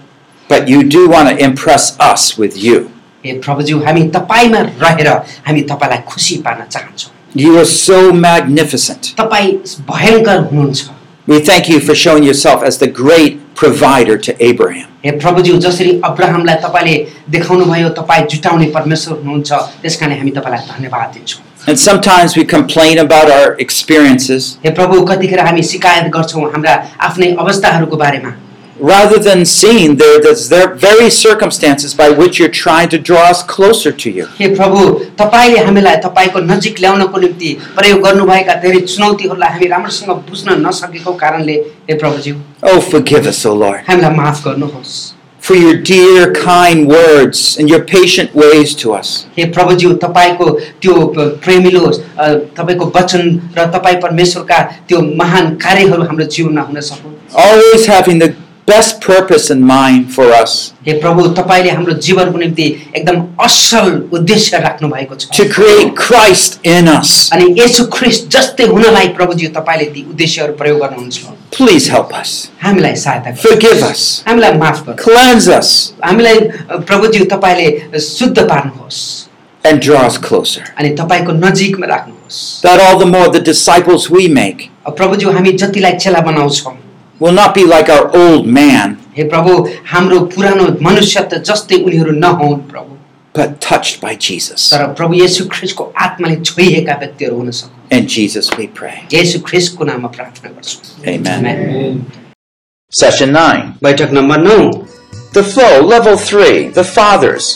[SPEAKER 1] But you do want to impress us with you.
[SPEAKER 2] हे प्रभुज्यू हामी तपाईँमा रहेर हामी तपाईँलाई खुसी पार्न चाहन्छौँ
[SPEAKER 1] You are so magnificent.
[SPEAKER 2] तपाईँ भयङ्कर हुनुहुन्छ
[SPEAKER 1] We thank you for showing yourself as the great provider to Abraham.
[SPEAKER 2] हे प्रभुज्यू जसरी अब्राहमलाई तपाईँले देखाउनुभयो तपाईँ जुटाउने परमेश्वर हुनुहुन्छ त्यस कारणले हामी तपाईँलाई धन्यवाद दिन्छौँ
[SPEAKER 1] And sometimes we complain about our experiences,
[SPEAKER 2] हे प्रभु कतिखेर हामी शिकायत गर्छौँ हाम्रा आफ्नै अवस्थाहरूको बारेमा
[SPEAKER 1] rather than seeing there that's their very circumstances by which you're trying to draw us closer to you.
[SPEAKER 2] हे प्रभु तपाईँले हामीलाई तपाईँको नजिक ल्याउनको निम्ति प्रयोग गर्नुभएका धेरै चुनौतीहरूलाई हामी राम्रोसँग बुझ्न नसकेको कारणले हे प्रभुज्यू
[SPEAKER 1] Oh, forgive us, O Lord,
[SPEAKER 2] हामीलाई माफ गर्नुहोस्
[SPEAKER 1] for your dear, kind words and your patient ways to us.
[SPEAKER 2] हे प्रभुज्यू तपाईँको त्यो प- प्रेमिलो अ, तपाईँको वचन र तपाईँ परमेश्वरका त्यो महान कार्यहरू हाम्रो जीवनमा हुन सकोस्
[SPEAKER 1] Always having the best purpose in mind for us
[SPEAKER 2] हे प्रभु तपाईँले हाम्रो जीवनको निम्ति एकदम असल उद्देश्य राख्नु भएको छ
[SPEAKER 1] to create Christ in us.
[SPEAKER 2] अनि यसो ख्रिस्ट जस्तै हुनलाई प्रभुज्यू तपाईँले ती उद्देश्यहरू प्रयोग गर्नुहुन्छ
[SPEAKER 1] Please help us.
[SPEAKER 2] हामीलाई सहायता
[SPEAKER 1] Forgive
[SPEAKER 2] गर्नुहोस्।
[SPEAKER 1] us.
[SPEAKER 2] हामीलाई माफ गर्नु
[SPEAKER 1] Cleanse us
[SPEAKER 2] हामीलाई अ, प्रभुज्यू तपाईँले शुद्ध पार्नुहोस्
[SPEAKER 1] and draw us closer.
[SPEAKER 2] अनि तपाईँको नजिकमा राख्नुहोस्
[SPEAKER 1] That all the more the disciples we make
[SPEAKER 2] अब प्रभुज्यू हामी जतिलाई चेला बनाउँछौँ
[SPEAKER 1] will not be like our old man,
[SPEAKER 2] हे प्रभु हाम्रो पुरानो मनुष्यत्व जस्तै उनीहरू नहुन् प्रभु
[SPEAKER 1] but touched by Jesus.
[SPEAKER 2] तर प्रभु येशू ख्रिस्टको आत्माले छोइएका व्यक्तिहरू हुन सक्नु
[SPEAKER 1] In Jesus we pray.
[SPEAKER 2] येशू ख्रिस्टको नाममा प्रार्थना गर्छु
[SPEAKER 1] Amen.
[SPEAKER 2] Amen.
[SPEAKER 3] Session 9.
[SPEAKER 2] बैठक नम्बर नौ
[SPEAKER 3] The flow, level three, the fathers,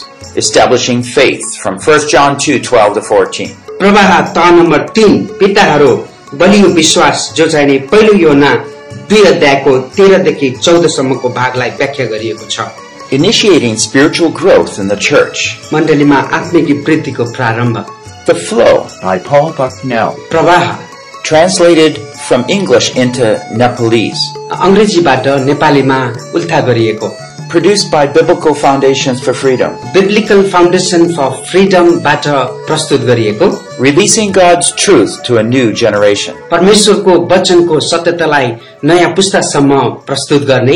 [SPEAKER 3] establishing faith from 1 John 2 12 to 14.
[SPEAKER 2] प्रवाह तह नम्बर तिन पिताहरू बलियो विश्वास जो चाहिने पहिलो योना दुई अध्यायको तेह्रदेखि चौधसम्मको भागलाई व्याख्या गरिएको छ
[SPEAKER 3] Initiating spiritual growth in the church.
[SPEAKER 2] मण्डलीमा आत्मिक वृद्धिको प्रारम्भ
[SPEAKER 3] The flow by Paul Bucknell.
[SPEAKER 2] प्रवाह
[SPEAKER 3] Translated from English into Nepalese.
[SPEAKER 2] अङ्ग्रेजीबाट नेपालीमा उल्था गरिएको
[SPEAKER 3] Produced by Biblical Foundations for Freedom.
[SPEAKER 2] Biblical foundation for फ्रिडमबाट प्रस्तुत गरिएको
[SPEAKER 3] Releasing God's truth to a new generation.
[SPEAKER 2] परमेश्वरको वचनको सत्यतालाई नयाँ पुस्तासम्म प्रस्तुत गर्ने